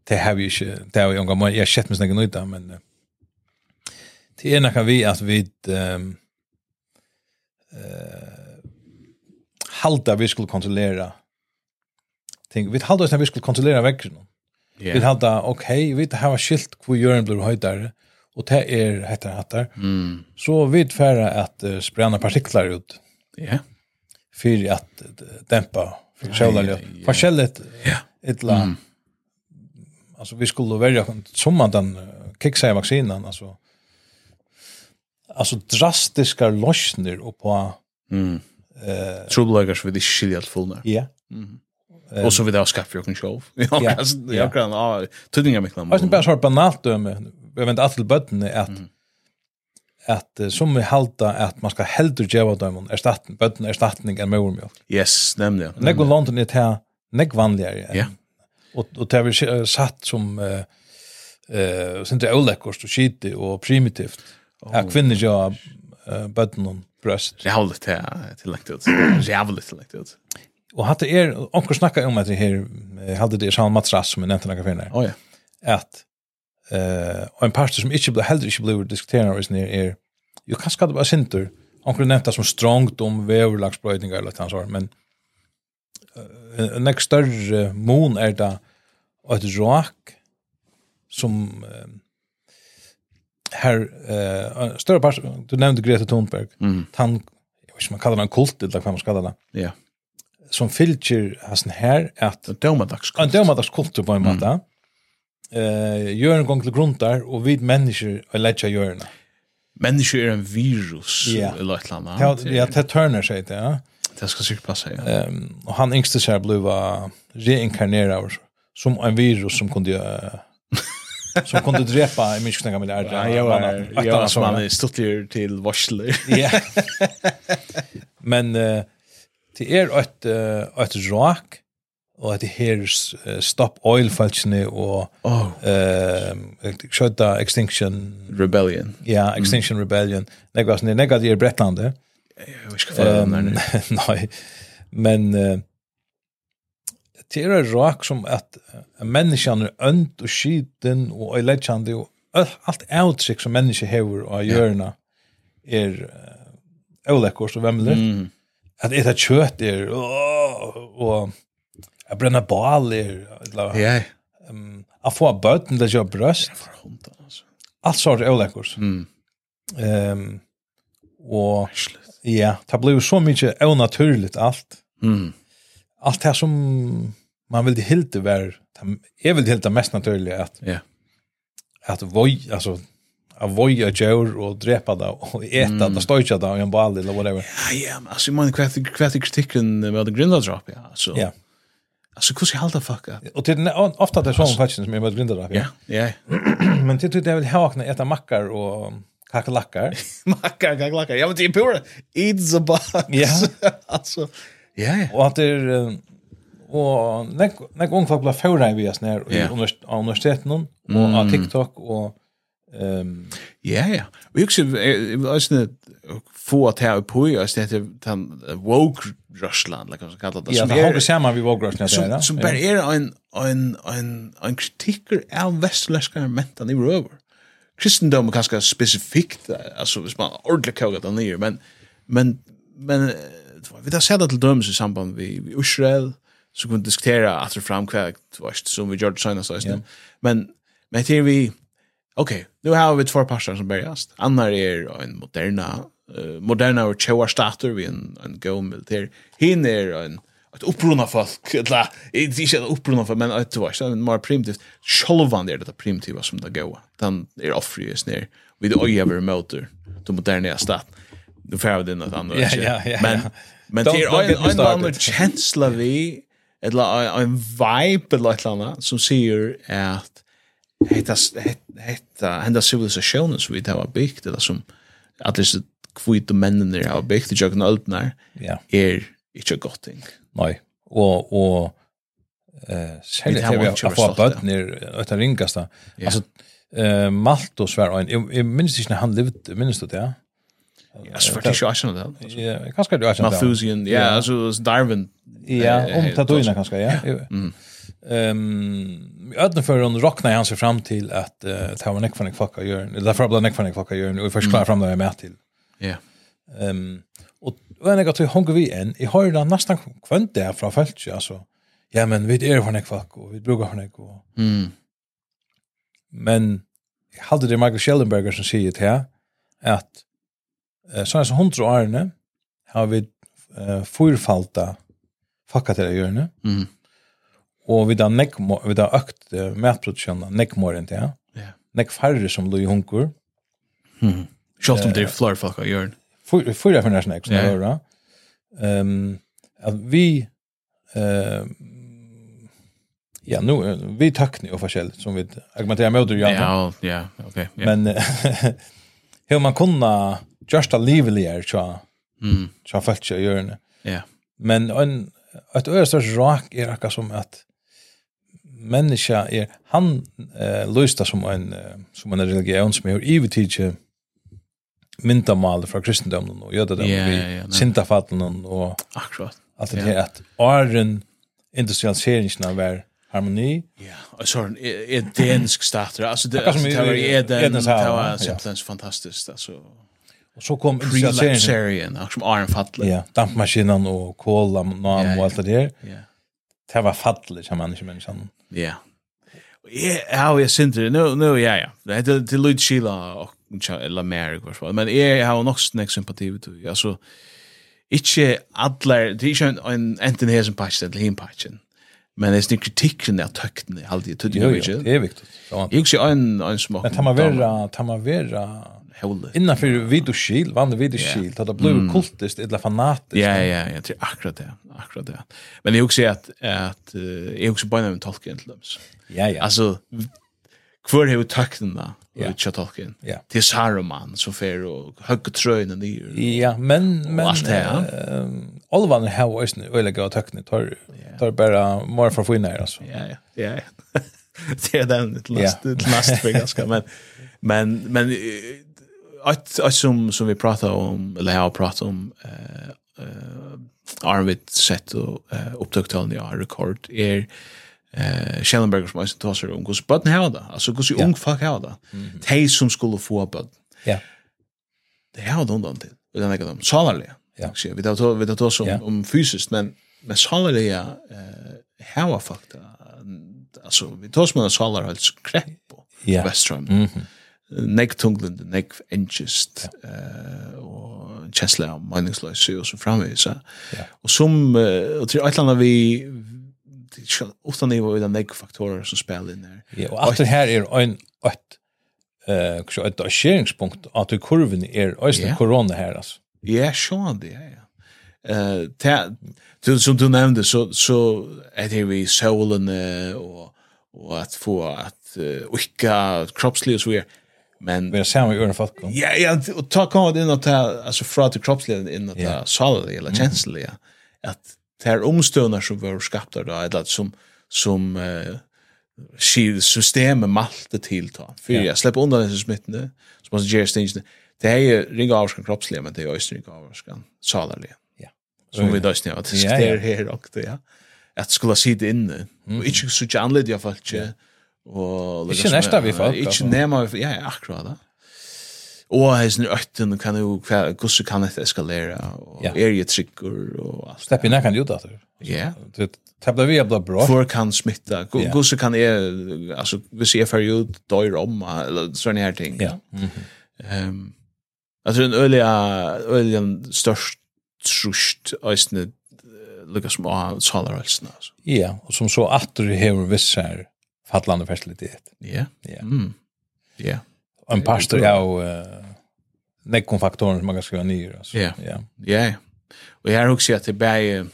Speaker 2: det har vi ju inte det har vi unga man jag sett mig snägga nytta men eh, er det ena kan vi att vi ehm eh halda vi skulle kontrollera Tänk, vi halda oss när vi skulle kontrollera växeln. Vi
Speaker 1: Ja.
Speaker 2: halda, okej, vi har skilt hvor jörn blir høydare, og det er hettar hattar.
Speaker 1: Mm.
Speaker 2: Så vi færa at uh, sprenna partiklar ut
Speaker 1: Ja.
Speaker 2: fyrir at eh, dempa friksjålarlig.
Speaker 1: Ja, ja, ja.
Speaker 2: Forskjellet
Speaker 1: Ja. Mm.
Speaker 2: etla, altså vi skulle verja som man den kiksa i vaksinan, altså altså drastiska løsner oppa
Speaker 1: Mm. Eh, Troublemaker så vi det skiljer allt fullnar.
Speaker 2: ja,
Speaker 1: Och så vi det har skaffat för en show. [LAUGHS] Ja, alltså, jag kan ha tydningar mycket om.
Speaker 2: Og jeg bare svare banalt døme, jeg vet alt til bøttene, at, at eh, som vi halda at man skal heldur djeva dømen, erstatning, bøttene erstatning enn mormjølk.
Speaker 1: Mm. Yes, nämnde jag.
Speaker 2: Negg og London er til negg vanligere. enn-
Speaker 1: Ja.
Speaker 2: Og, og det er vi eh, satt som uh, uh, sindre ålekkost og skiti og primitivt. Ja, kvinner djeva uh, bøttene brøst.
Speaker 1: Jävligt till lagt eh, ut. er Jävligt till lagt ut.
Speaker 2: Og hatt det er, onker snakka om at det her, eh, hadde det er Sjalmat Matras som jeg nevnte nakka fyrir
Speaker 1: Åh ja.
Speaker 2: at eh og ein pastor som ikkje blir heldur ikkje blir diskutera is near er jo kan skapa sintur onkel nevnta som strongt om veurlagsbrøydingar eller tant svar men uh, next større moon er da at rock som eh, her eh større part du nevnte Greta Thunberg
Speaker 1: Mm.
Speaker 2: han jeg vet ikke om man kallar han kult eller hva man skal kalla det
Speaker 1: Ja. er
Speaker 2: som fylgjer hasen her at
Speaker 1: Så dömadags.
Speaker 2: en dømadags kultur på en
Speaker 1: Mm.
Speaker 2: måte. Eh, Jørgen gong til gruntar, og vi mennesker er letja Jørgen.
Speaker 1: Människor är er en virus
Speaker 2: Ja.
Speaker 1: eller ett land.
Speaker 2: Ja, ja, det tørner seg det, ja.
Speaker 1: Det ska säkert passa, ja.
Speaker 2: Ehm, og han yngste seg ble reinkarnera av som en virus som kunde eh, som kunde drepa i minst knäcka miljarder.
Speaker 1: Ja, jag var jag var som man är stuttlig till varsler.
Speaker 2: Ja. [LAUGHS] Men eh, det er et, eh, et rak, og et her eh, stopp oil-falskene og
Speaker 1: [LAUGHS] Oh,
Speaker 2: eh, skjøtta extinction
Speaker 1: rebellion.
Speaker 2: Ja, Extinction Rebellion. Nej, vad snälla, nej, det er är Bretland. det.
Speaker 1: Jag ska få den där
Speaker 2: [LAUGHS]
Speaker 1: nu.
Speaker 2: Nej. Ehm, Men eh det är rak som att eh, människan är önt och skiten och legend och ö- allt outsick som människor har och görna är oläckor och vemligt.
Speaker 1: Mm.
Speaker 2: Att äta kött är er, åh, och att bränna bal är er, eller
Speaker 1: Ja,
Speaker 2: att få böten där jag bröst.
Speaker 1: för hund alltså.
Speaker 2: Allt sorts oläckor.
Speaker 1: Mm.
Speaker 2: Ehm och ja, det blev så mycket onaturligt allt.
Speaker 1: Mm.
Speaker 2: Allt det här som man vill det helt var är väl det helt mest naturliga att
Speaker 1: Ja.
Speaker 2: att voj alltså att voja djur och drepa det och äta det stöja det i en ball eller whatever.
Speaker 1: Mm. Ja, ja, men alltså man kvätt kvätt kritiken med den grinda drop, ja. Så.
Speaker 2: Ja.
Speaker 1: Alltså hur ska jag hålla fuck up?
Speaker 2: Och till er ofta det är sån faktiskt som är med grindar.
Speaker 1: Ja, ja. [LAUGHS]
Speaker 2: Men er till det jag vill ha att äta mackar och kakalackar.
Speaker 1: Macka, gag, lacka. Ja, men det er är pura. It's a box.
Speaker 2: Ja.
Speaker 1: [LAUGHS] Alltså. Ja, ja.
Speaker 2: Och att det är eh, och när när ung folk blir förra i oss när
Speaker 1: Ja. Mm.
Speaker 2: av universiteten och av TikTok och ehm
Speaker 1: Ja, ja. Og jeg husker, eh, jeg jeg vil også få at her på, jeg synes det heter den woke-Russland, eller hva som kallar det,
Speaker 2: ja,
Speaker 1: som
Speaker 2: det håller
Speaker 1: er,
Speaker 2: samman vi vågar oss
Speaker 1: som,
Speaker 2: när
Speaker 1: som bare er en, en, en, en kritikker av vestlæskare mentan i røver. Kristendom er ganske spesifikt, altså hvis man ordentlig kogat den nye, men, men, men eh, det var- vi har sett det til dømes i samband vi, vi Israel, så kunne vi diskutera at det framkvægt, som vi gjør det senast, yeah. men, men det er vi, Okej, nu har vi två parter som börjast. Annar är en moderna eh, moderna och tjoa stater vi en en go militär hin er är en ett upprunna folk eller inte inte ett upprunna folk men ett var så mer primitivt självan där det primitiva som det goa den är offrius ner vid öj över motor de moderna stat då får vi den något annat
Speaker 2: Ja,
Speaker 1: ikke?
Speaker 2: ja, ja,
Speaker 1: men
Speaker 2: ja.
Speaker 1: men
Speaker 2: Don't-
Speaker 1: det
Speaker 2: don't get me
Speaker 1: är en
Speaker 2: started.
Speaker 1: annan känsla vi eller en- en vibe eller ett eller annat som säger att hetta hetta henda civilisationen som vi har byggt eller som att det kvitt och männen där har byggt i jökna öldnar
Speaker 2: Ja.
Speaker 1: är inte gott ting.
Speaker 2: Nei. Og og eh
Speaker 1: Vi
Speaker 2: særlig
Speaker 1: tar
Speaker 2: til vi
Speaker 1: vant til å
Speaker 2: har fått
Speaker 1: være stolt,
Speaker 2: bøtten er etter ringasta.
Speaker 1: Ja.
Speaker 2: Altså eh Maltos var en jeg- jeg minns ikke når han levde minns du det? ja? er
Speaker 1: Alltså för det är ju action det. er
Speaker 2: Ja, kanskje du har kjent det.
Speaker 1: Malthusian, ja, alltså Darwin.
Speaker 2: Ja, um
Speaker 1: eh, Mm.
Speaker 2: om
Speaker 1: eh,
Speaker 2: tatuina kanskje, ja. Ehm i ödnen för hon rocknar han sig fram till att uh, ta en ekfarnig fucka gör. Eller därför blir en ekfarnig fucka gör och
Speaker 1: Mm.
Speaker 2: först klara fram det med till.
Speaker 1: Ja.
Speaker 2: Ehm och och en gång till hon vi en. Jag har ju den nästan kvant där från fältet alltså. Ja men vi är för en ekfarnig och vi brukar för en ekfarnig.
Speaker 1: Mm.
Speaker 2: Men jag hade det er Michael Schellenberger som säger det här att eh, sådana som hundra årene har vi eh, fyrfalta fucka till det görne.
Speaker 1: Mm.
Speaker 2: Og vi da nekk, vi da økt uh, matproduksjonen, nekk morgen til,
Speaker 1: Ja.
Speaker 2: nekk færre som lå i hunkur,
Speaker 1: Shot om det är flar folk av jörn.
Speaker 2: fyra for nærsen ekk, som
Speaker 1: Ja.
Speaker 2: jeg hører, um, at vi, uh, ja, nu, eh, vi takkni og forskjell, som vi argumenterer med å gjøre,
Speaker 1: Ja, ja, okej. ja.
Speaker 2: men [LAUGHS] eh, hur man kunna just a liveligere tja,
Speaker 1: Mm.
Speaker 2: tja fælt tja gjørne.
Speaker 1: Ja.
Speaker 2: Men en, et øre størst rak er akka som at menneska er, han eh, løysta som en, eh, som en religion som er ivetidje myndamal fra kristendommen og jødedommen
Speaker 1: Ja, ja, ja,
Speaker 2: yeah,
Speaker 1: nei.
Speaker 2: og sintafallen og
Speaker 1: Akkurat.
Speaker 2: alt det
Speaker 1: Ja.
Speaker 2: her at åren industrialiseringen av hver harmoni
Speaker 1: Ja, och så er en edensk stater. Alltså det
Speaker 2: Akkurat som
Speaker 1: alltså,
Speaker 2: i-
Speaker 1: det var
Speaker 2: i-
Speaker 1: i Eden, det
Speaker 2: Edens hav,
Speaker 1: var
Speaker 2: ja.
Speaker 1: simpelthen så fantastiskt alltså.
Speaker 2: og så kom industrialiseringen
Speaker 1: Pre-Lapsarian, som Aron Fadler.
Speaker 2: ja, dampmaskinen og kola
Speaker 1: Ja,
Speaker 2: nam
Speaker 1: ja.
Speaker 2: og alt det her
Speaker 1: Ja.
Speaker 2: det var fattelig som mennesker menneskene
Speaker 1: Ja. Ja, ja, jag synte Nu, nu, ja, ja. Det er heter till Lloyd Sheila och eller Mary kvar fall. Men jag har nog snack sympati vid det. Alltså inte alla det är inte en enten här som patch eller hin patchen. Men det er är inte kritiken där tökten alltid till
Speaker 2: jo,
Speaker 1: det
Speaker 2: jo,
Speaker 1: vet
Speaker 2: det er viktig Så-
Speaker 1: Jag ser en en smak.
Speaker 2: men ta man vera ta man vera
Speaker 1: hålla.
Speaker 2: innanför videoskil, vanlig videoskil, yeah. det blev kultiskt eller fanatiskt.
Speaker 1: Mm. Ja, ja, jag tror akkurat det. Akkurat det. Men det är också att att eh, jag också bara en tolken till dem.
Speaker 2: ja, ja.
Speaker 1: Alltså kvar hur takten där.
Speaker 2: Ja.
Speaker 1: Ja. Richard Tolkien.
Speaker 2: Ja.
Speaker 1: Till Saruman som fer och högg tröjnen i.
Speaker 2: ja, men men
Speaker 1: allt det, ja.
Speaker 2: ehm, Olvan här var ju öle gå tackne tar tar er- bara mer för finna här alltså.
Speaker 1: Ja, ja. Ja. ja. [LAUGHS] det är den till last
Speaker 2: Ja.
Speaker 1: till last för ganska men men men eh, att att som som vi pratar om eller jag har pratat om eh eh Arvid sett och eh, upptaktalen i har rekord är eh Schellenberger som är tosser om hur button här då alltså hur ung fuck här då de som skulle få button
Speaker 2: Ja.
Speaker 1: det här har de undan till. Vi har nekket om salarliga.
Speaker 2: Ja.
Speaker 1: Ja. Vi tar vi tar oss om,
Speaker 2: Ja.
Speaker 1: om um fysiskt, men, men salarliga eh, här var fakta. Alltså, vi tar oss med en salar helt skräpp på
Speaker 2: Ja.
Speaker 1: Västström. Nek tunglund, nek engest, eh, og kjensla av meningsløse og så framvis.
Speaker 2: Ja.
Speaker 1: Og som, eh, og til et eller annet vi, utan nivå i den nek faktorer som spelar in her.
Speaker 2: Ja, och att det här är en ett er eh så ett skärningspunkt att i kurven är östra
Speaker 1: Ja.
Speaker 2: corona här alltså.
Speaker 1: Ja, sjón det, ja, ja. Eh, ta du som du nämnde så så är det vi solen eh, och och att få att uh, wicka kroppsliga så är men
Speaker 2: Vi är samma i öron folk. då.
Speaker 1: ja ja och ta komma det in att ta alltså från till kroppsliga in att
Speaker 2: Ja. Mm.
Speaker 1: ta solid eller känsliga att det här omstönar som var skapta då eller att som som eh skil systemet malte till ta för
Speaker 2: Ja.
Speaker 1: jag släpper undan den smittan så måste jag stänga det här är ringa avskan kroppsliga men det är östra ringa avskan salaliga som vi døsni av, at det
Speaker 2: Ja, ja.
Speaker 1: sker her og det, ja. At skulle sitte inne,
Speaker 2: Mm.
Speaker 1: og ikke suttje anledd i fall ikke. og
Speaker 2: Ikke
Speaker 1: liksom,
Speaker 2: nærsta vi folk, altså.
Speaker 1: Ikke nema vi folk, ja, ja, akkurat da. Og heisen i øtten, kan jo, hva- hvordan kan dette eskalere, og
Speaker 2: Ja.
Speaker 1: er jeg tryggur, og alt.
Speaker 2: Stepp in här kan du då.
Speaker 1: Ja,
Speaker 2: Det tablar vi blir bra.
Speaker 1: hvor kan smitta,
Speaker 2: Ja.
Speaker 1: hvordan kan jeg, altså, hvis jeg fer ut, døyr om, eller sånne her ting.
Speaker 2: Ja.
Speaker 1: Ehm Jag tror en er- öliga öliga störst trust ösne lukar som har salar alltså.
Speaker 2: Ja, og som så atter hever vissar fallande fertilitet.
Speaker 1: Ja.
Speaker 2: Ja.
Speaker 1: Mm. Ja.
Speaker 2: Og en pastor er jo uh, nekkon faktoren som man kan skriva nyer. Altså.
Speaker 1: Ja.
Speaker 2: ja.
Speaker 1: Ja. Och jag har också att det bär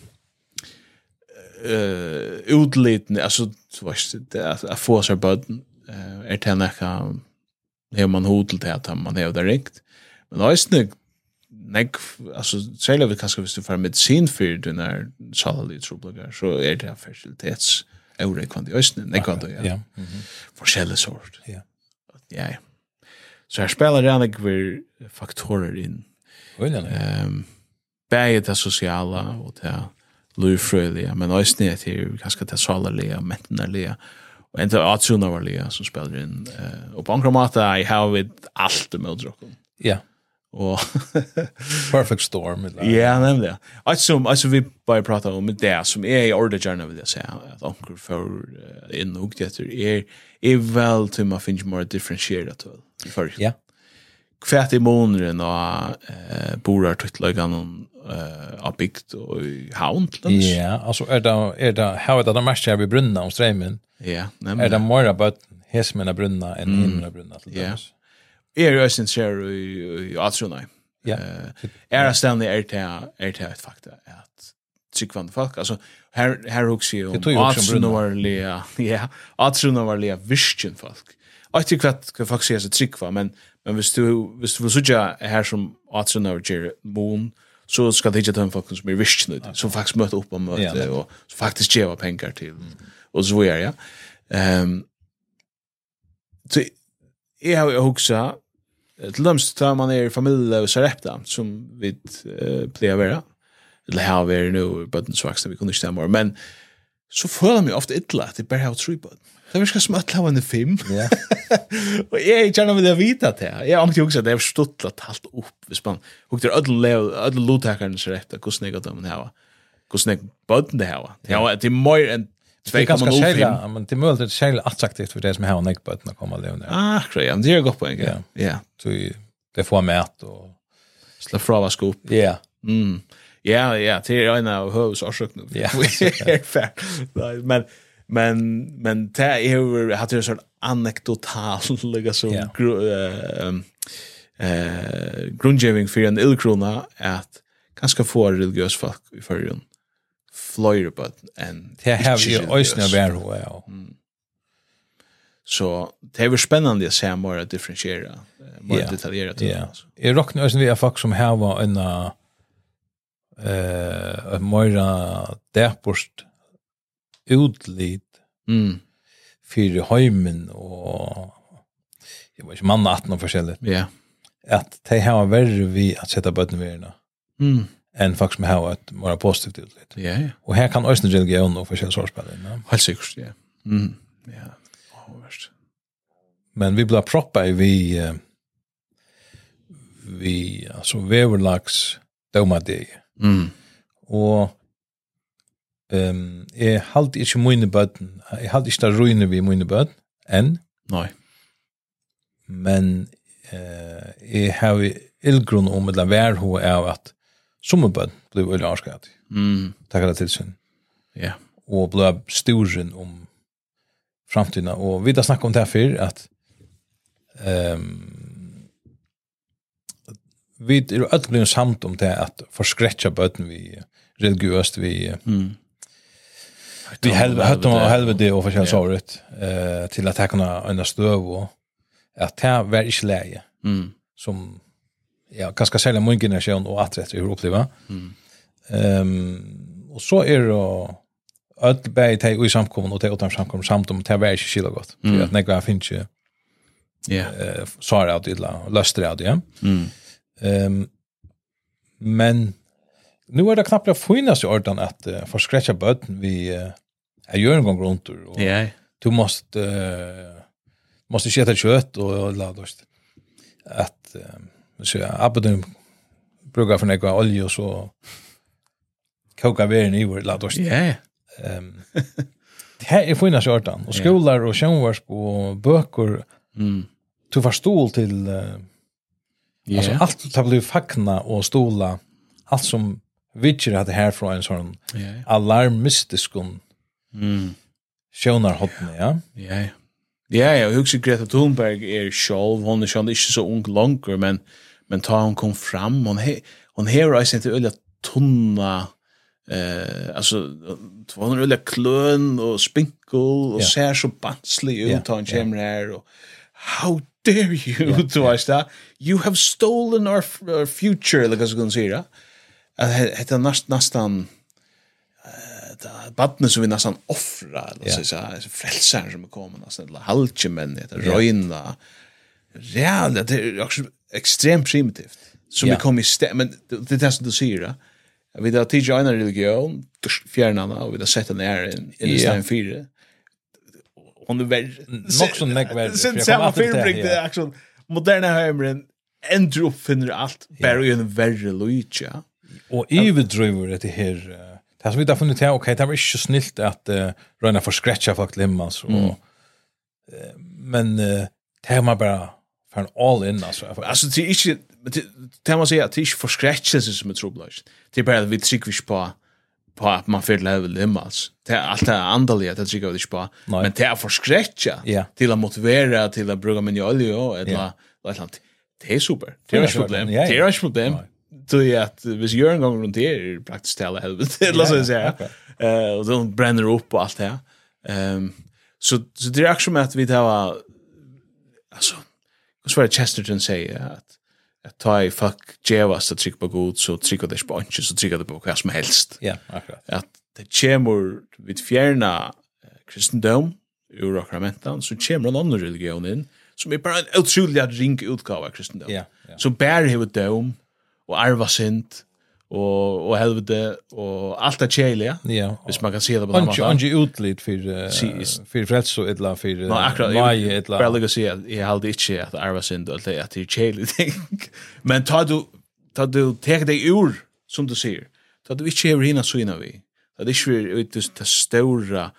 Speaker 1: eh utliten alltså så vet du att att få sig bud eh är det näka hur man hotel det att man är där rikt. Men er ösne nek alltså säljer vi kanske visst för medicin för den här salali trubblar så är det er fertilitets eure kvant i ösne nek kvant ja.
Speaker 2: Ja. Mhm.
Speaker 1: Forskjellig sort.
Speaker 2: Ja.
Speaker 1: Ja. ja. Så här spelar det annorlunda faktorer in
Speaker 2: Øyne, ja.
Speaker 1: ehm bæði ta sosiala og ta lúfrøðliga, men eisini er at her kanskje ta salarliga, mentanarliga og enda atsunavarliga som spelar inn. Eh, og på angra måte, jeg har vidt alt med drokken.
Speaker 2: Ja.
Speaker 1: um Og [LAUGHS]
Speaker 2: Perfect storm. Eller?
Speaker 1: ja, nemlig. Alt som, alt som vi bare prater om det, som er i ordet gjerne, vil jeg si, at anker for eh, inn og etter, er, er vel til man finner mer differensieret til. For,
Speaker 2: Ja.
Speaker 1: kvært i måneden og eh, borar tuttløgan eh, av bygd og i havn til dem.
Speaker 2: Ja, altså er det, er det, her er det det mest jeg vil brunna om streimen,
Speaker 1: Ja, Mm.
Speaker 2: er det
Speaker 1: nemlig.
Speaker 2: mer bøtt hesmena brunna enn himla brunna til
Speaker 1: Ja.
Speaker 2: dømes.
Speaker 1: Jeg er også interessert i, i Atsjonai.
Speaker 2: Ja.
Speaker 1: Er det stendig er det, er det et fakta at tryggvande folk, altså her, her hukse jo
Speaker 2: Det tog jo
Speaker 1: om
Speaker 2: også om brunna.
Speaker 1: atsunavarliga, [LAUGHS] ja, atsunavarliga virkjen folk. Og ikke kvart hva folk sier seg tryggva, men, men hvis du, hvis du vil sutja her som atsunavarliga mån, så skal det ikke ta en folk som er virkjen ut, som faktisk møter opp og møter,
Speaker 2: Ja.
Speaker 1: og som faktisk djeva penger til, og så videre, ja. Ehm så jeg har jo huksa, eh, til døms tar man er i familie og sarepta, som vi uh, pleier å være, eller her vi er nå, bøtten så vaksne, vi kunne ikke stemme, men så føler jeg meg ofte illa at jeg bare har tre bøtten. Det virker som at jeg har en film, [LAUGHS]
Speaker 2: Ja.
Speaker 1: og jeg kjenner meg det vita til. Jeg har ikke huksa at jeg har stått til talt opp, hvis man hukter ødel ødel lotakerne sarepta, hvordan jeg gott om det her, hvordan jeg bøtten det her. Det her- det er mer enn
Speaker 2: Det er ganske
Speaker 1: 2,05.
Speaker 2: særlig, men det er mulig at det er særlig attraktivt for det som har en ekkbøtten å komme levende.
Speaker 1: Ah, grejer, ja, men det er godt poeng, ja. Ja,
Speaker 2: Så i- det får mat og...
Speaker 1: slå fra hva sko
Speaker 2: Ja.
Speaker 1: Mm. Ja, ja, det er en av høvesårsøkene. [LAUGHS]
Speaker 2: Ja.
Speaker 1: er fair. Nei, Men, men, men det er jo, jeg hadde jo sånn anekdotal, lukka som
Speaker 2: Ja.
Speaker 1: gru, eh, um, eh, grundgeving for en illkrona, at kanskje få religiøs folk i førjen fløyre på enn
Speaker 2: Det har
Speaker 1: ikke
Speaker 2: vi jo øyne å
Speaker 1: religiøs.
Speaker 2: være hva, ja.
Speaker 1: Så det er jo spennende å se mer differensiere, mer
Speaker 2: Ja.
Speaker 1: detaljere til
Speaker 2: Ja. Jeg råkner øyne vi er folk som har var en eh en møyra dæpurst utlid
Speaker 1: Mm.
Speaker 2: fyrir heimen og jeg vet ikke, mann 18 og forskjellig,
Speaker 1: Ja.
Speaker 2: at de har verre vi at sette bøtten verna
Speaker 1: Mm.
Speaker 2: enn folk som har et mora positivt utlid.
Speaker 1: Ja, ja.
Speaker 2: Og her kan øyne religion og forskjellige sårspillene.
Speaker 1: Helt sikkert, ja. Mm. Ja. Åh, verst.
Speaker 2: Men vi blir proppa i vi eh, vi alltså veverlags domadeg.
Speaker 1: Mm.
Speaker 2: Og ehm jeg halt ikke mine bøtten. Jeg halt ikke det ruine vi mine bøtten enn,
Speaker 1: Nei.
Speaker 2: men eh jeg har illgrunn om det vær ho er at som bøtten blir veldig avskatt.
Speaker 1: Mm.
Speaker 2: Takk det til sin.
Speaker 1: Ja.
Speaker 2: Og blir storen om framtiden. Og vi har snakket om det her før, um at ehm vi er alle blevet samt om det at forskretja bøtten vi religiøst vi eh,
Speaker 1: Mm.
Speaker 2: Vi helvete hade man helvete och
Speaker 1: Ja.
Speaker 2: förskäl så rätt eh till att täcka en stöv och att det var inte läge
Speaker 1: Mm.
Speaker 2: som ja ganska sällan min generation och att rätt hur uppleva.
Speaker 1: Mm.
Speaker 2: Ehm och så är det att bäi te i samkommun och te utan samkommun samt om det var inte skilla gott.
Speaker 1: Mm.
Speaker 2: För att när jag finns ju
Speaker 1: Ja.
Speaker 2: eh så är det att illa löster det ja.
Speaker 1: Mm.
Speaker 2: Ehm men er nu är det knappt att finnas i ordan att uh, förskräcka böten vi uh, jag gör en gång runt och
Speaker 1: Ja.
Speaker 2: du måste uh, måste inte äta kött och, och laddost att uh, så jag abdum brukar för några olja och så koka veren i vår laddost.
Speaker 1: Ja.
Speaker 2: Ehm det här är finnas i ordan och skolor och sjönvarsk och böcker
Speaker 1: Mm.
Speaker 2: du får stol till uh,
Speaker 1: Ja.
Speaker 2: eh, Alltså allt tar blir fackna och stola allt som vidger att det här från en sån
Speaker 1: Ja, ja.
Speaker 2: alarmistisk
Speaker 1: Mm.
Speaker 2: sjönar hotne, ja.
Speaker 1: Ja, ja. Ja, ja, og hugsa Greta Thunberg er sjálv, hon er sjálv ikke så ung langer, men, men ta hon kom fram, hon, he, hon hever eisen til øyla tunna, eh, altså, hon er øyla kløn og spinkel, og
Speaker 2: Ja.
Speaker 1: ser så banslig ut,
Speaker 2: Ja,
Speaker 1: ta hon kommer her, og how dare [LAUGHS] you, du veist da, you have stolen our, f- our future, eller hva skal hun sier, ja? At he- hetta næst næstan eh barnet som vi nästan offra eller
Speaker 2: Ja.
Speaker 1: så så här frälsaren som kommer nästan er eller halche män det röjna reellt det är också extremt primitivt som
Speaker 2: Ja.
Speaker 1: vi kommer i stä- men det det är det som du säger ja. vi där tidiga en religion tsch, fjärna och vi där sätta ner in i
Speaker 2: Ja.
Speaker 1: stan fyra hon är värre
Speaker 2: Nog så nekk verre, for
Speaker 1: sen
Speaker 2: jeg kom
Speaker 1: samma
Speaker 2: alltid til det,
Speaker 1: film det
Speaker 2: ja.
Speaker 1: action moderna hemren ändå uppfinner allt bara i en värre lucha
Speaker 2: Och överdriver det här eh, det här som vi inte har funnit här, okej, det här var inte så snilt att uh, röjna för skrätcha folk limmans. Och, eh, men eh, det här var bara för en all in, alltså. Jag får-
Speaker 1: Alltså det är inte men det det man säger att det är inte förskräckelse som är trubbigt. Det är bara att vi trycker vi på på att man får leva limmals. Det är allt det andliga det trycker vi inte på.
Speaker 2: Nej.
Speaker 1: Men det är förskräcka
Speaker 2: Ja.
Speaker 1: till att motivera till att bruka min olja och ett la ett land. Det är super. Det är
Speaker 2: Ja,
Speaker 1: ett problem.
Speaker 2: ja, ja.
Speaker 1: Det är ett problem. Du är att hvis gör en gång runt det är det praktiskt hela helvete. Låt oss säga.
Speaker 2: akkurat.
Speaker 1: Eh och de bränner upp och allt det här. Ehm så så det är också med att vi tar alltså Och så var det Chesterton säger att att ta i fuck Jevas att trycka på god så trycker det på inte så trycker det på vad som helst.
Speaker 2: Ja, akkurat.
Speaker 1: Att det kommer vid fjärna eh, kristendom ur akramentan så kommer en annan religion in som är er bara en otrolig ring utgåva av kristendom.
Speaker 2: Ja, ja.
Speaker 1: Så bär hur dom och arva synd och och helvete och allt det kärliga.
Speaker 2: Ja, och-
Speaker 1: Hvis man kan se det på den
Speaker 2: Anki
Speaker 1: måten.
Speaker 2: anki utlid för
Speaker 1: Precis.
Speaker 2: för frälso etla för
Speaker 1: Nå, akkurat,
Speaker 2: mai
Speaker 1: jeg
Speaker 2: etla.
Speaker 1: bare lukker å si at jeg halde ikke at arva synd og alt det, at det er kjedelig ting. [LAUGHS] Men ta du, ta du, tek deg ur, som du sier, ta du ikke hever hina syna vi, ta du ikke er ut det ståra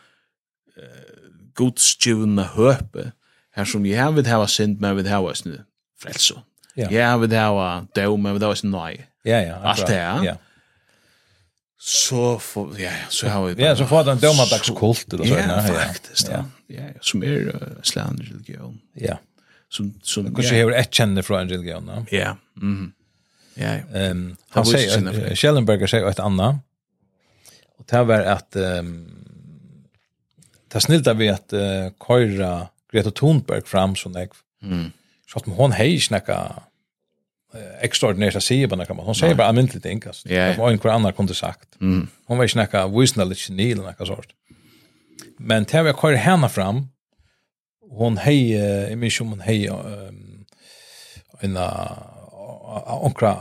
Speaker 1: uh, godstjuvna høpe, her som jeg vil hava synd, men jeg vil hava sin frelso.
Speaker 2: Ja.
Speaker 1: Jeg vil hava døm, men jeg vil hava sin nøy.
Speaker 2: Ja, ja, akkurat.
Speaker 1: Allt det, ja.
Speaker 2: Ja.
Speaker 1: Så, får- ja, ja, så har vi
Speaker 2: Ja, så får den dömadagskult eller så.
Speaker 1: Ja,
Speaker 2: nej,
Speaker 1: faktisk, da. Ja, ja, som er uh, slænd religion.
Speaker 2: Ja.
Speaker 1: Som, som,
Speaker 2: Kanske hur ett känner från en religion. ja.
Speaker 1: Ja. Mhm. Ja. ja.
Speaker 2: Ehm
Speaker 1: Han
Speaker 2: han
Speaker 1: var ikke
Speaker 2: säger
Speaker 1: sinne for
Speaker 2: eh,
Speaker 1: det.
Speaker 2: Schellenberger säger ett annat. Och det här var att ehm ta snilt av att eh, köra Greta Thunberg fram som jag
Speaker 1: Mm.
Speaker 2: så att hon hej snacka eh, extraordinärt att säga på något man. Hon säger bara allmänt ting alltså.
Speaker 1: Ja, ja.
Speaker 2: Det var en kvar annan kunde sagt.
Speaker 1: Mm.
Speaker 2: Hon var snacka visna lite geni eller något sånt. Men det här var jag köra henne fram. Hon hej eh, jag minns om hon hej ehm en eh, onkra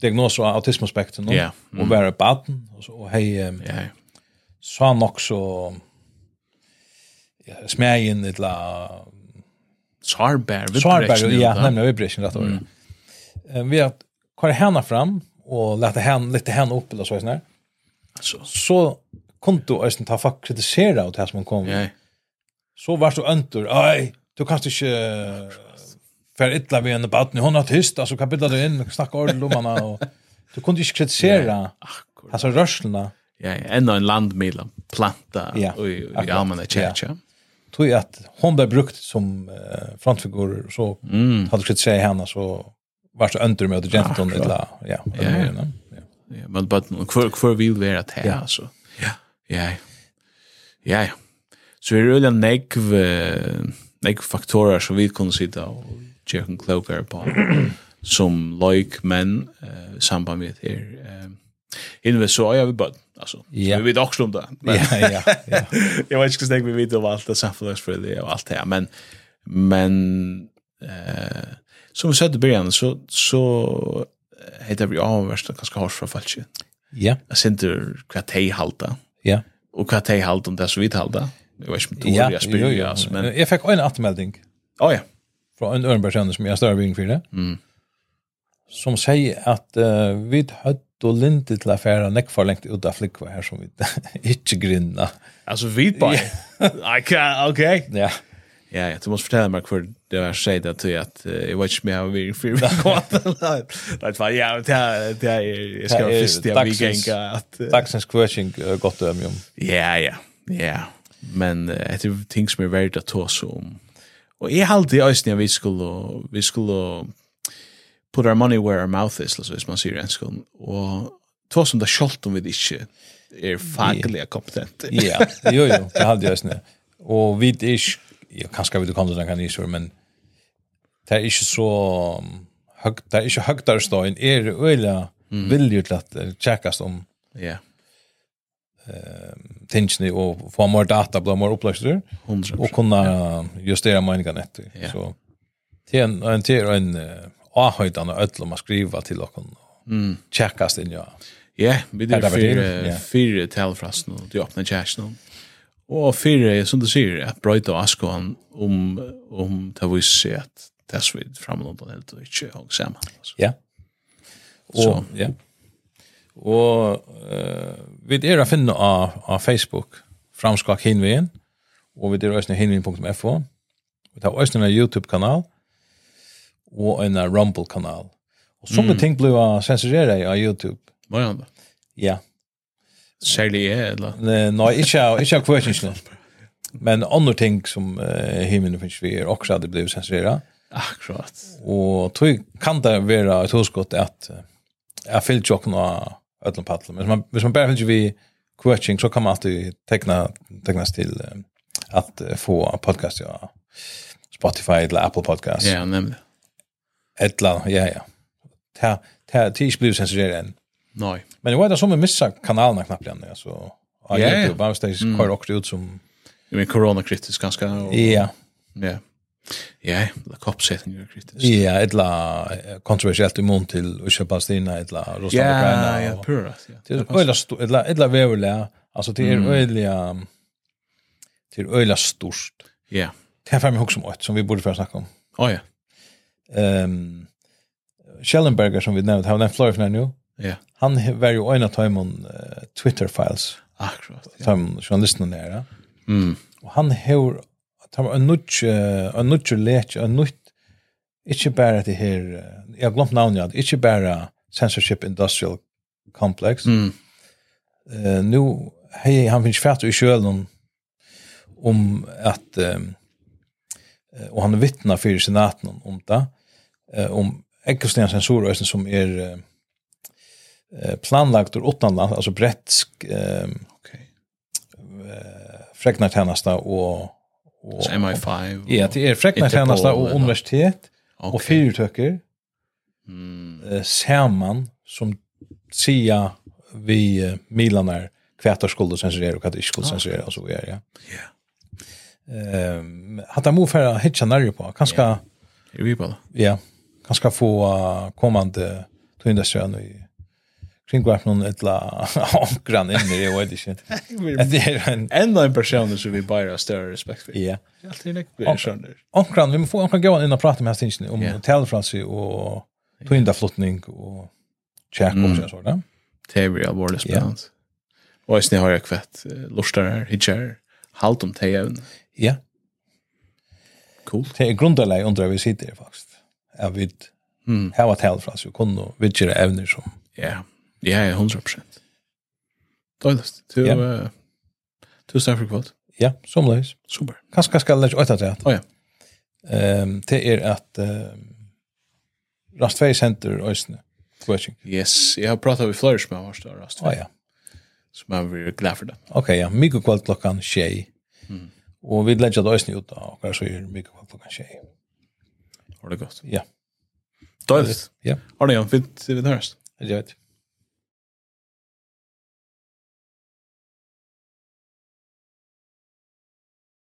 Speaker 2: diagnos av autismspektrum
Speaker 1: Ja, Mm.
Speaker 2: och var ett barn och så och hej ehm,
Speaker 1: Ja. ja.
Speaker 2: så han också ja, smägen eh, eller
Speaker 1: Sarbær. vi
Speaker 2: Svarberg,
Speaker 1: brekker
Speaker 2: ja,
Speaker 1: det, da.
Speaker 2: nämligen vibration rätt år. Mm. Vi har kvar henne fram och lät henne lite henne upp eller så sån
Speaker 1: Altså,
Speaker 2: Så kom du östen ta fack kritisera åt här som hon kom.
Speaker 1: Ja. ja.
Speaker 2: Så var du öntor. Aj, du kanst inte eh, för illa vi en barn hon har tyst alltså kapitel du in och snacka ord om henne och du kunde inte kritisera
Speaker 1: Akkurat.
Speaker 2: alltså rörslorna.
Speaker 1: Ja, ja. Enda en landmila planta
Speaker 2: Ja,
Speaker 1: og i
Speaker 2: akkurat.
Speaker 1: almanna tjekja.
Speaker 2: Tror jag att hon blev brukt som eh, frontfigur så
Speaker 1: Mm.
Speaker 2: hade du kritiserat henne så var du öntor med att gentle
Speaker 1: Akkurat.
Speaker 2: illa. Ja,
Speaker 1: Ja.
Speaker 2: eller hur, ja.
Speaker 1: Ja, men bara kvar kvar vill vara att här
Speaker 2: Ja.
Speaker 1: alltså. Ja. Ja. Ja. ja. Så er det øyla negv, eh, negv faktorer som vi kunne sitte og tjekke en klokere på [CLEARS THROAT] som loik menn eh, i samband med det her. Eh, Inve så er vi bøtt, altså.
Speaker 2: Ja.
Speaker 1: Så Vi vet også om det. Men,
Speaker 2: [LAUGHS] Ja, ja, ja.
Speaker 1: jag vet inte hur snägg vi vet om allt det samfunnsfröde och allt det här, men men eh, som vi sa i början så, så heter vi avvärsta ganska hårt från falsk.
Speaker 2: Ja,
Speaker 1: Jag ser inte hur de halta
Speaker 2: ja.
Speaker 1: och hva de halta om det som vi halta. Jag vet inte om det
Speaker 2: Ja,
Speaker 1: är jag
Speaker 2: jo,
Speaker 1: spyrir,
Speaker 2: jo.
Speaker 1: alltså, er men
Speaker 2: Jeg fikk en atmelding
Speaker 1: ja, ja.
Speaker 2: fra en øren person som jeg større bygging for det,
Speaker 1: Mm.
Speaker 2: som sier at eh, vi høtt og linte til affæra nekk for lengt ut av flikva her som vi [LAUGHS] ikke grinna. [LAUGHS]
Speaker 1: Alltså vi bara. Okej.
Speaker 2: Ja.
Speaker 1: Ja, ja, du måste fortälla mig hur det var seg det til at eh, jeg vet ikke om jeg har vært fri med
Speaker 2: [LAUGHS]
Speaker 1: kåten. Det var ja, det er, det er, jeg skal
Speaker 2: Det
Speaker 1: være
Speaker 2: er
Speaker 1: først til at vi
Speaker 2: dagsens-
Speaker 1: ganger at... eh, um.
Speaker 2: Dagsens kvørsing er godt øm om.
Speaker 1: Ja, ja, ja. Men eh, det er ting som er verdt å ta oss om. um. Og jeg halte i øyne at vi skulle, vi skulle put our money where our mouth is, altså, hvis man sier en skolen. Og um ta oss om det selv om vi ikke er faglig kompetente.
Speaker 2: Ja, jo, jo, det hadde jeg snø. Og vi er ikke, ja, kanskje vi kom til den kanisur, men det er ikke så høgt, det er ikke høgtarstøyen, er øyla
Speaker 1: Mm.
Speaker 2: vilje til at eh, um tjekkast om
Speaker 1: Ja,
Speaker 2: tingene og få mer data, bli mer opplagster,
Speaker 1: hundra
Speaker 2: og kunne justere meningene etter.
Speaker 1: Ja.
Speaker 2: Så det er en, en, det er en eh, avhøydende ødel om å skrive til dere,
Speaker 1: Mm.
Speaker 2: tjekkast inn, ja.
Speaker 1: Ja, vi
Speaker 2: Ja, det
Speaker 1: er
Speaker 2: var
Speaker 1: fire,
Speaker 2: det, ja.
Speaker 1: fire talfrasen og de åpne kjæresten. Og fire, som du sier, at brøyta og um, askoan om, om det viser seg at det er svidd framlånda helt og ikke hong sammen. Altså.
Speaker 2: Ja. Og,
Speaker 1: Så.
Speaker 2: ja. Og eh, vi er å finne av, av Facebook framskak hinveien, og vi er også hinveien.fo. Vi tar også en YouTube-kanal og en Rumble-kanal. Og sånne
Speaker 1: Mm.
Speaker 2: ting blir sensurere av YouTube.
Speaker 1: Var han da?
Speaker 2: Ja.
Speaker 1: Særlig jeg, eller?
Speaker 2: Ne- Nei, ikke, av- ikke av kvørsingene. Men andre ting som uh, hinveien finnes vi er også hadde blitt sensurere.
Speaker 1: Akkurat.
Speaker 2: Og tog kan det være et hoskott at eh, jeg fyller ikke åkken av ødelen paddelen. Men hvis man, hvis man bare fyller ikke vi coaching, så kan man alltid tekna, teknas til eh, at eh, få podcast ja, Spotify eller Apple Podcast.
Speaker 1: Ja, nemlig.
Speaker 2: Et eller annet, ja, ja. Det- Det det er ikke blivet sensureret enn.
Speaker 1: Nei.
Speaker 2: Men jeg vet at så vi missa kanalen knapt igjen, altså. Av
Speaker 1: Ja, Mm. ja.
Speaker 2: YouTube, bare hvis de kører også ut som...
Speaker 1: Jeg mener koronakritisk ganske. Og,
Speaker 2: Ja,
Speaker 1: Ja. Ja, eller koppsetning er kritisk.
Speaker 2: ja, et eller annet kontroversielt imot til Usha-Palestina, et eller annet
Speaker 1: Ja,
Speaker 2: Russland-Ukraina. og-
Speaker 1: ja, er purat. Ja.
Speaker 2: Det er är öla stort, öla öla vävla. Alltså det
Speaker 1: Mm.
Speaker 2: är öla det är öla stort.
Speaker 1: Ja.
Speaker 2: Det här mig också om åt som vi borde för snacka om.
Speaker 1: Å ja,
Speaker 2: um. Ehm Schellenberger som vi nämnt, han är flöjfna nu.
Speaker 1: ja.
Speaker 2: Han he- var ju en av eh, timon Twitter files
Speaker 1: Akkurat. Ja.
Speaker 2: som journalisten där. ja.
Speaker 1: Mm.
Speaker 2: Och han har att han en nutch en nutch lech en nut Ikke bare det her, eh, jeg har glemt navnet, ja. ikke bare Censorship Industrial Complex,
Speaker 1: Mm.
Speaker 2: eh nu hej han finns färd i kölen om att eh och han vittnar för senaten om, om det um eh om ekosten sensorer som är eh, eh planlagt ur utanland alltså brett eh
Speaker 1: Okej.
Speaker 2: freknartjänsta och och
Speaker 1: Så MI5. og-
Speaker 2: ja det är freknartjänsta
Speaker 1: Interpol,
Speaker 2: och
Speaker 1: eller?
Speaker 2: universitet och
Speaker 1: Okej.
Speaker 2: fyrtöcker
Speaker 1: Mm.
Speaker 2: eh, saman som sia vi eh, milanar kvärt och skuld och censurera och att det inte skuld censurera och så vidare.
Speaker 1: Ah, Ja.
Speaker 2: Ehm hata mo för att hitcha närre på. Kanske
Speaker 1: Er vi på det?
Speaker 2: ja, kanske få eh, kommande tundaströn i kring vad någon [LAUGHS] ettla ankran in i det och
Speaker 1: [LAUGHS]
Speaker 2: det shit. Det är en
Speaker 1: [LAUGHS] Enda en person som vi bare har større respekt for.
Speaker 2: ja.
Speaker 1: Alltid nek blir jeg skjønner.
Speaker 2: Ankran, vi må få ankran gå in och prata um med hans tingen om
Speaker 1: Ja.
Speaker 2: yeah. telefransi och tundaflottning och check
Speaker 1: Mm.
Speaker 2: och så sådär.
Speaker 1: Det er veldig alvorlig spennende. Og jeg snitt har jeg kvett eh, lortar her, hitjar, halt om teg evne.
Speaker 2: Ja.
Speaker 1: Cool.
Speaker 2: Det är grundläggande er undrar vi sitter faktiskt. Jag vet
Speaker 1: Mm.
Speaker 2: här var tal från så kunde vi göra ävner som.
Speaker 1: Ja, ja, ja, 100%. Døylest. Du,
Speaker 2: Ja.
Speaker 1: eh, du snakker for kvart.
Speaker 2: Ja, som lös.
Speaker 1: Super.
Speaker 2: Kanske ska lägga åt att det.
Speaker 1: Å ja.
Speaker 2: Ehm det är att ehm Rastfej Center Ösne. Coaching.
Speaker 1: Yes, jeg har pratet med flere som har vært der, Rasmus.
Speaker 2: Ja ja.
Speaker 1: Som er veldig glad for det.
Speaker 2: Okej, ja, mycket kvart klockan 6.
Speaker 1: Mm.
Speaker 2: Och vi lägger det Ösne ut och kanske är mycket kvart klockan 6.
Speaker 1: Har det godt.
Speaker 2: Ja.
Speaker 1: Døylest.
Speaker 2: Ja,
Speaker 1: Har det, Jan, fint vi høres.
Speaker 2: det vet.